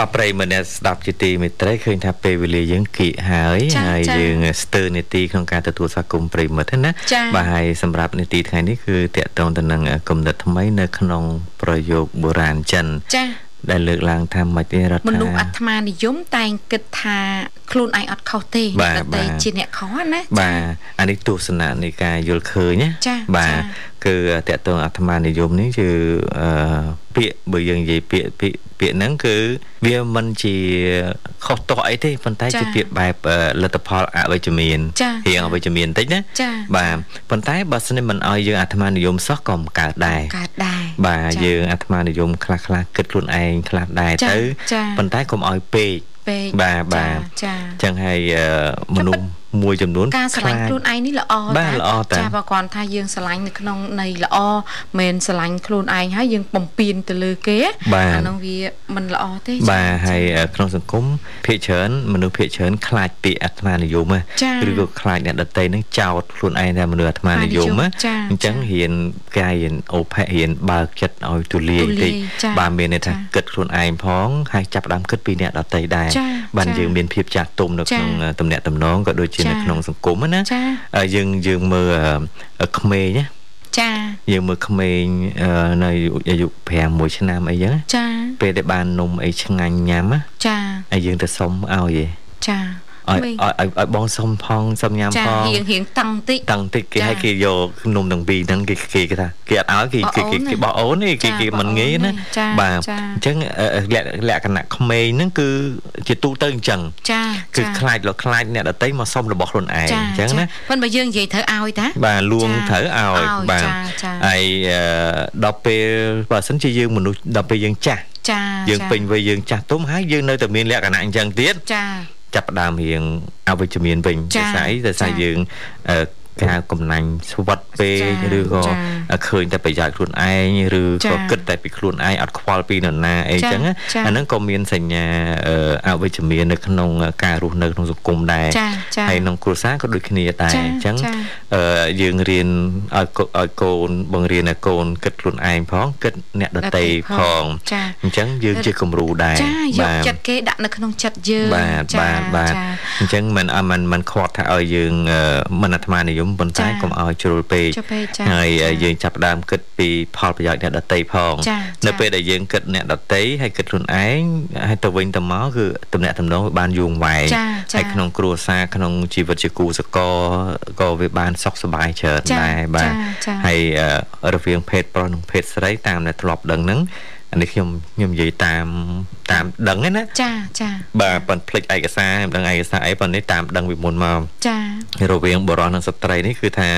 Speaker 3: បាទប្រិយមិត្តអ្នកស្ដាប់ជាទីមេត្រីឃើញថាពេលវេលាយើងគៀកហើយ
Speaker 4: ចា
Speaker 3: ហើយ
Speaker 4: ចា
Speaker 3: យើងស្ទើរនាទីក្នុងការទទួលស្វាគមន៍ប្រិយមិត្តហ្នឹងណា
Speaker 4: ចា
Speaker 3: បាទហើយសម្រាប់នាទីថ្ងៃនេះគឺតកតងទៅនឹងគំនិតថ្មីនៅក្នុងប្រយោគបុរាណចិន
Speaker 4: ចា
Speaker 3: ដែលលើកឡើងថាមិនទេរដ្ឋ
Speaker 4: មនុស្សអា
Speaker 3: ា
Speaker 4: ត្មានិយមតែងគិតថាខ្លួនឯងអត់ខុសទេ
Speaker 3: បាទ
Speaker 4: អ្នកដ
Speaker 3: បា
Speaker 4: តែ
Speaker 3: ទ
Speaker 4: ជាអ្នកខុសណា
Speaker 3: បាទអានេះទស្សនៈនៃការយល់ឃើញណា
Speaker 4: ចា
Speaker 3: បាទ
Speaker 4: ចា
Speaker 3: គឺតកតងអាត្មានិយមនេះគឺអឺពាក្យបើយើងនិយាយពាក្យពាក្យពាក្យហ្នឹងគឺវាមិនជាខុសទោះអីទេប៉ុន្តែជាពាក្យបែបអឺលទ្ធផលអវិជ្ជមាន
Speaker 4: ចា
Speaker 3: រៀងអវិជ្ជមានបន្តិចណា
Speaker 4: ចា
Speaker 3: បាទប៉ុន្តែបើសិនជាមិនឲ្យយើងអាត្មានិយមសោះក៏មិនកើតដែរ
Speaker 4: កើតដែរ
Speaker 3: បាទ
Speaker 4: ចា
Speaker 3: យើងអាត្មានិយមខ្លះខ្លះគិតខ្លួនឯងខ្លះដែរ
Speaker 4: ចា
Speaker 3: ទៅ
Speaker 4: ចា
Speaker 3: ប៉ុន្តែកុំឲ្យពេក
Speaker 4: ពេក
Speaker 3: បាទបាទ
Speaker 4: ចា
Speaker 3: អ
Speaker 4: ចា
Speaker 3: ញ្ចឹងហើយអឺមនុស្សមួយចំនួន
Speaker 4: ការស្រឡាញ់
Speaker 3: ខ្លាច
Speaker 4: ខ្លួនឯងនេះល្អ
Speaker 3: បាទល្អតា
Speaker 4: ចាបើគ្រាន់ថាយើងស្រឡាញ់នៅក្នុងនៃល្អមិនស្រឡាញ់ខ្លួនឯងហើយយើងបំពេញទៅលើគេ
Speaker 3: បាទ
Speaker 4: អានោះវាមិនល្អទេចា
Speaker 3: បាទហើយអឺក្នុងសង្គមភាគច្រើនមនុស្សភាគច្រើនខ្លាចពាក្យអាត្មានិយម
Speaker 4: ចា
Speaker 3: ហ៎ឬក៏ខ្លាចអ្នកដតីនឹងចោទខ្លួនឯងថាមនុស្សអាត្មានិយមហ៎
Speaker 4: ចា
Speaker 3: អញ្ចឹងរៀនកាយរៀនអូផេរៀនបើកចិត្តឲ្យទូលាយ
Speaker 4: ទូ
Speaker 3: តិ
Speaker 4: លាយ
Speaker 3: ច
Speaker 4: ចា
Speaker 3: បាទមានន័យថា
Speaker 4: ចា
Speaker 3: គិតខ្លួនឯងផងហើយចាប់ផ្ដើមគិតពីអ្នកដតីដែរ
Speaker 4: ចា
Speaker 3: បាទ
Speaker 4: ចា
Speaker 3: យើងមានភាពចាស់ទុំនៅ
Speaker 4: ចា
Speaker 3: ក្នុងតំណែងតំណងក៏ដូចជា
Speaker 4: ចា
Speaker 3: នៅក្នុងសង្គមហ្នឹងណា
Speaker 4: ចា
Speaker 3: អឺយើងយើងមើលអឺក្មេងណា
Speaker 4: ចា
Speaker 3: យើងមើលក្មេងអឺនៅអាយុ5 1ឆ្នាំអីចឹងណា
Speaker 4: ចា
Speaker 3: ពេលដែលបាននំអីឆ្ងាញ់ញ៉ាំណា
Speaker 4: ចា
Speaker 3: ហើយយើងទៅសុំឲ្យឯង
Speaker 4: ចា
Speaker 3: ឲ្យឲ
Speaker 4: មេឃ
Speaker 3: ្យឲ្យឲ្យបងសុំផងសុំញ៉ាំ
Speaker 4: ចា
Speaker 3: ផង
Speaker 4: រៀងរៀងតឹងតិច
Speaker 3: តាំងតិចគេ
Speaker 4: ចា
Speaker 3: ឲ្យគេយកនំទាំងពីរហ្នឹងគេគេគេថាគេអត់ឲ្យគេ
Speaker 4: បោះ
Speaker 3: គេ
Speaker 4: អូ
Speaker 3: គេ
Speaker 4: នណា
Speaker 3: គេបោះអូនឯងគេ
Speaker 4: ចា
Speaker 3: គេ
Speaker 4: បោះ
Speaker 3: មិន
Speaker 4: អូន
Speaker 3: ងាយណា
Speaker 4: ទេចា
Speaker 3: បាទ
Speaker 4: ចា
Speaker 3: អញ្ចឹងអឺលក្ខលក្ខណៈក្មេងហ្នឹងគឺជាទូទៅអញ្ចឹង
Speaker 4: ចា
Speaker 3: គឺ
Speaker 4: ចា
Speaker 3: ខ្លាចលខ្លាចអ្នកដតីមកសុំរបស់ខ្លួនឯង
Speaker 4: ចា
Speaker 3: អញ្ចឹងណា
Speaker 4: ប៉ុន្តែបើយើងនិយាយត្រូវឲ្យតា
Speaker 3: បាទលួង
Speaker 4: ចា
Speaker 3: ត្រូវឲ្យ
Speaker 4: ឲ្យ
Speaker 3: បាទ
Speaker 4: ចាចា
Speaker 3: ហើយអឺដល់ពេលបើសិនជាយើងមនុស្សដល់ពេលយើងចាស់
Speaker 4: ចា
Speaker 3: យើង
Speaker 4: ចា
Speaker 3: ពេញវ័យយើងចាស់ទុំហើយយើងនៅតែមានលក្ខណៈអញ្ចឹងទៀត
Speaker 4: ចា
Speaker 3: ចាប់ផ្ដើមរៀងអវិជ្ជមានវិញ
Speaker 4: ចា
Speaker 3: ដូចស្អីដូចស្អី
Speaker 4: ចា
Speaker 3: យើងអឺការកំណាញ់ស្វត្តពេ
Speaker 4: ចា
Speaker 3: កឬក៏
Speaker 4: ចា
Speaker 3: អឺឃើញតែប្រយោជន៍ខ្លួនឯងឬ
Speaker 4: ចា
Speaker 3: ក៏គិតតែពីខ្លួនឯងអត់ខ្វល់ពីនរណាអី
Speaker 4: ចា
Speaker 3: ចឹងណា
Speaker 4: ចា
Speaker 3: អាហ្នឹងក៏មានសញ្ញាអឺអវិជ្ជមាននៅក្នុងការរស់នៅក្នុងសង្គមដែរ
Speaker 4: ចាចា
Speaker 3: ហើយក្នុងគ្រួសារក៏ដូចគ្នាដែរ
Speaker 4: ចា
Speaker 3: អញ្ចឹង
Speaker 4: ចា
Speaker 3: អឺយើងរៀនឲ្យកូឲ្យកូនបង្រៀនឲ្យកូនគិតខ្លួនឯងផងគិតអ្នកដទៃផង
Speaker 4: ចា
Speaker 3: អញ្ចឹងយើងជាគំរូដែរ
Speaker 4: ចាយក
Speaker 3: បាទ
Speaker 4: ចិត្តគេដាក់នៅក្នុងចិត្តយើង
Speaker 3: បាទបាទបាទ
Speaker 4: ចា
Speaker 3: អញ្ចឹងមិនអមិនមិនខ្វាត់ថាឲ្យយើងអឺមិនអាត្មានិយមប៉ុន្តែ
Speaker 4: ចា
Speaker 3: កុំឲ្យជ្រុលពេក
Speaker 4: ជ្រុលពេកចា
Speaker 3: ហើយអឺ
Speaker 4: ចា
Speaker 3: យើងចាប់ផ្ដើមគិតពីផលប្រយោជន៍អ្នកដតីផង
Speaker 4: ចា
Speaker 3: នៅ
Speaker 4: ចា
Speaker 3: ពេលដែលយើងគិតអ្នកដតីហើយគិតខ្លួនឯងហើយទៅវិញទៅមកគឺតំណែងតំណងវាបានយូរអង្វែង
Speaker 4: ចាចា
Speaker 3: ហើយក្នុងគ្រួសារក្នុងជីវិតជាគូសកលក៏វាបានសុខសប្បាយច្រើន
Speaker 4: ចា
Speaker 3: ដែរបាទ
Speaker 4: ចាចា
Speaker 3: ហើយអឺរវាងភេទប្រុសនិងភេទស្រីតាមដែលធ្លាប់ដឹងហ្នឹងអានេះខ្ញុំខ្ញុំនិយាយតាមតាមដឹងហ្នឹងណា
Speaker 4: ចាចា
Speaker 3: បាទប៉ុនផ្លិចឯកសារខ្ញុំដឹងឯកសារអីប៉ុននេះតាមដឹងពីមុនមក
Speaker 4: ចា
Speaker 3: រវាងបរិសនិងស្ត្រីនេះគឺថា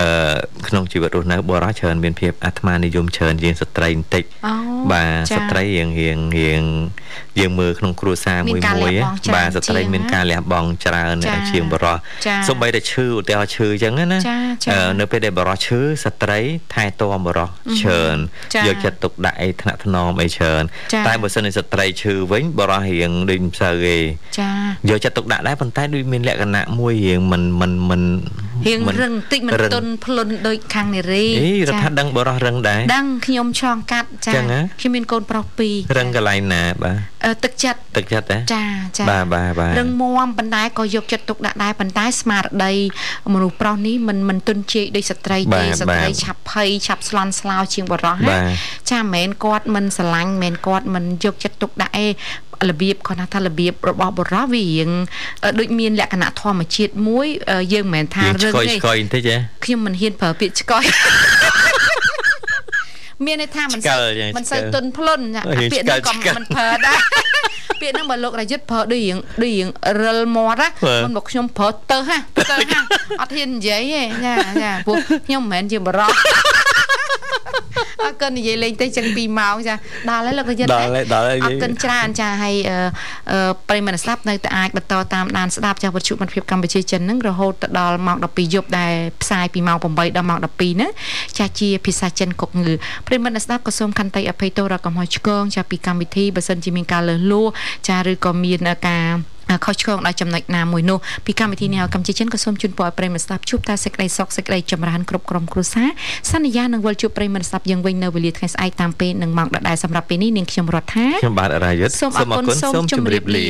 Speaker 3: អឺក្នុងជីវិតរស់នៅបរិសច្រើនមានភាពអាត្មានិយមច្រើនជាងស្ត្រីបន្តិច
Speaker 4: អូ
Speaker 3: បាទ
Speaker 4: ចា
Speaker 3: ស្ត្រីរៀងរៀងរៀងយើងមើលក្នុងគ្រួសារ
Speaker 4: មា
Speaker 3: មួយ
Speaker 4: នការ
Speaker 3: មួយ
Speaker 4: លះបង់
Speaker 3: បា
Speaker 4: ច្រើន
Speaker 3: ទស្ត្រី
Speaker 4: ជាង
Speaker 3: មាន
Speaker 4: ណា
Speaker 3: ការលះបង់ច្រើន
Speaker 4: ចា
Speaker 3: ជាងបរិស
Speaker 4: ចា
Speaker 3: សូម្បីតែឈឺឧទាហរណ៍ឈឺអញ្ចឹងណា
Speaker 4: ចាចា
Speaker 3: អឺនៅពេលដែលបរិសឈឺស្ត្រីថែទាំបរិសច្រើន
Speaker 4: ចា
Speaker 3: យកចិត្តទុកដាក់អីថ្នាក់ថ្នមអីច្រើន
Speaker 4: ចា
Speaker 3: តែបើសិនជាស្ត្រីឈឺវិញបរិសរៀងដូចមិនសូវទេ
Speaker 4: ចា
Speaker 3: យកចិត្តទុកដាក់ដែរប៉ុន្តែដូចមានលក្ខណៈមួយរៀងមិនមិនមិន
Speaker 4: រៀង
Speaker 3: មិន
Speaker 4: រឹងបន្តិចមិនទន់ភ្លន់ដូចខាងនារី
Speaker 3: អីរដ្ឋា
Speaker 4: ចា
Speaker 3: ដឹងបរោះរឹងដែរ
Speaker 4: ដឹងខ្ញុំឆ្លងកាត់ចា
Speaker 3: ចឹងហ៎
Speaker 4: ខ្ញុំមានកូនប្រុសពីរ
Speaker 3: រឹងកន្លែងណាបាទ
Speaker 4: អឺទឹកចិត្ត
Speaker 3: ទឹកចិត្តដែរ
Speaker 4: ចាចា
Speaker 3: បាទបាទបាទ
Speaker 4: រឹងមាំប៉ុន្តែក៏យកចិត្តទុកដាក់ដែរប៉ុន្តែស្មារតីមនុស្សប្រុសនេះមិនមិនទុនជែកដូចស្ត្រី
Speaker 3: បា
Speaker 4: ទេ
Speaker 3: ទ
Speaker 4: ស្ត្រី
Speaker 3: បាទ
Speaker 4: ឆាប់ភ័យឆាប់ស្លន់ស្លោជាងបរោះ
Speaker 3: បា
Speaker 4: ណា
Speaker 3: ទ
Speaker 4: ចាមិនមែនគាត់មិនស្រឡាញ់មិនមែនគាត់មិនយកចិត្តទុកដាក់ទេរបៀបគាត់ហៅថារបៀបរបស់បរោះវារៀងអឺដូចមានលក្ខណៈធម្មជាតិមួយអឺយើងមិនមែនថា
Speaker 3: យើង
Speaker 4: រឹង
Speaker 3: ឆ្កុយ
Speaker 4: ទេ
Speaker 3: ឆ្កុយបន្តិចហ៎
Speaker 4: ខ្ញុំមិនហ៊ានប្រើពាក្យឆ្កយ មានន័យថាមិន
Speaker 3: ឆ្ក
Speaker 4: សូវ
Speaker 3: លយ៉ាង
Speaker 4: មិនសូវ
Speaker 3: ឆ្កល
Speaker 4: ទន់ភ្លន់ណា
Speaker 3: អូយើង
Speaker 4: ពាក្យហ្នឹង
Speaker 3: ឆ្ក
Speaker 4: ក៏
Speaker 3: លឆ្កល
Speaker 4: មិនប្រើ ដែរ ពាក្យហ្នឹងបើលោករយុទ្ធប្រើដូចរៀងដូចរៀងរិលមាត់ណា
Speaker 3: ប្រើ
Speaker 4: មិនមកខ្ញុំប្រើទៅហ่าទៅហ่า អត់ហ៊ាននិយាយទេចាចាព្រោះខ្ញុំមិនមែនជាបរោះ អរគុណនិយាយលេងទៅចឹង2ម៉ោងចាដល់ហើយលោករយុទ្ធ
Speaker 3: ដល់ហើយដល់ហើយ
Speaker 4: អរគុណច្រើនចាហើយអឺអឺប្រិយមត្តអ្នកស្ដាប់នៅតែអាចបន្តតាមដានស្ដាប់ចាស់វត្ថុមិត្តភាពកម្ពុជាចិនហ្នឹងរហូតទៅដល់ម៉ោង12យប់ដែលផ្សាយពីម៉ោង8ដល់ម៉ោង12ហ្នឹងចាស់ជាភាសាចិនកុកងឺប្រិយមត្តអ្នកស្ដាប់ក៏សូមខន្តីអភ័យទោសរកកំហុសឆ្គងចាស់ពីកម្មវិធីបើសិនជាមានការលើសលួសចាស់ឬក៏មានការ ខុសឆ្គងដល់ចំណុចណាមួយនោះពីកម្មវិធីនេះកម្ពុជាចិនក៏សូមជូនពរឲ្យប្រិយមិត្តស្ដាប់ជួបតែសេចក្តីសុខសេចក្តីចម្រើនគ្រប់ក្រុមគ្រួសារសន្យានឹងវិលជួបប្រិយមិត្តស្ដាប់យើងវិញនៅវេលាថ្ងៃស្អែកតាមពេលនិងម៉ោងដដែលសម្រាប់ពេលនេះនាងខ្ញុំរដ្ឋា
Speaker 3: ខ្ញុំបាទអរាយុទ្ធ
Speaker 4: សូមអរគុណសូមជម្រាបលា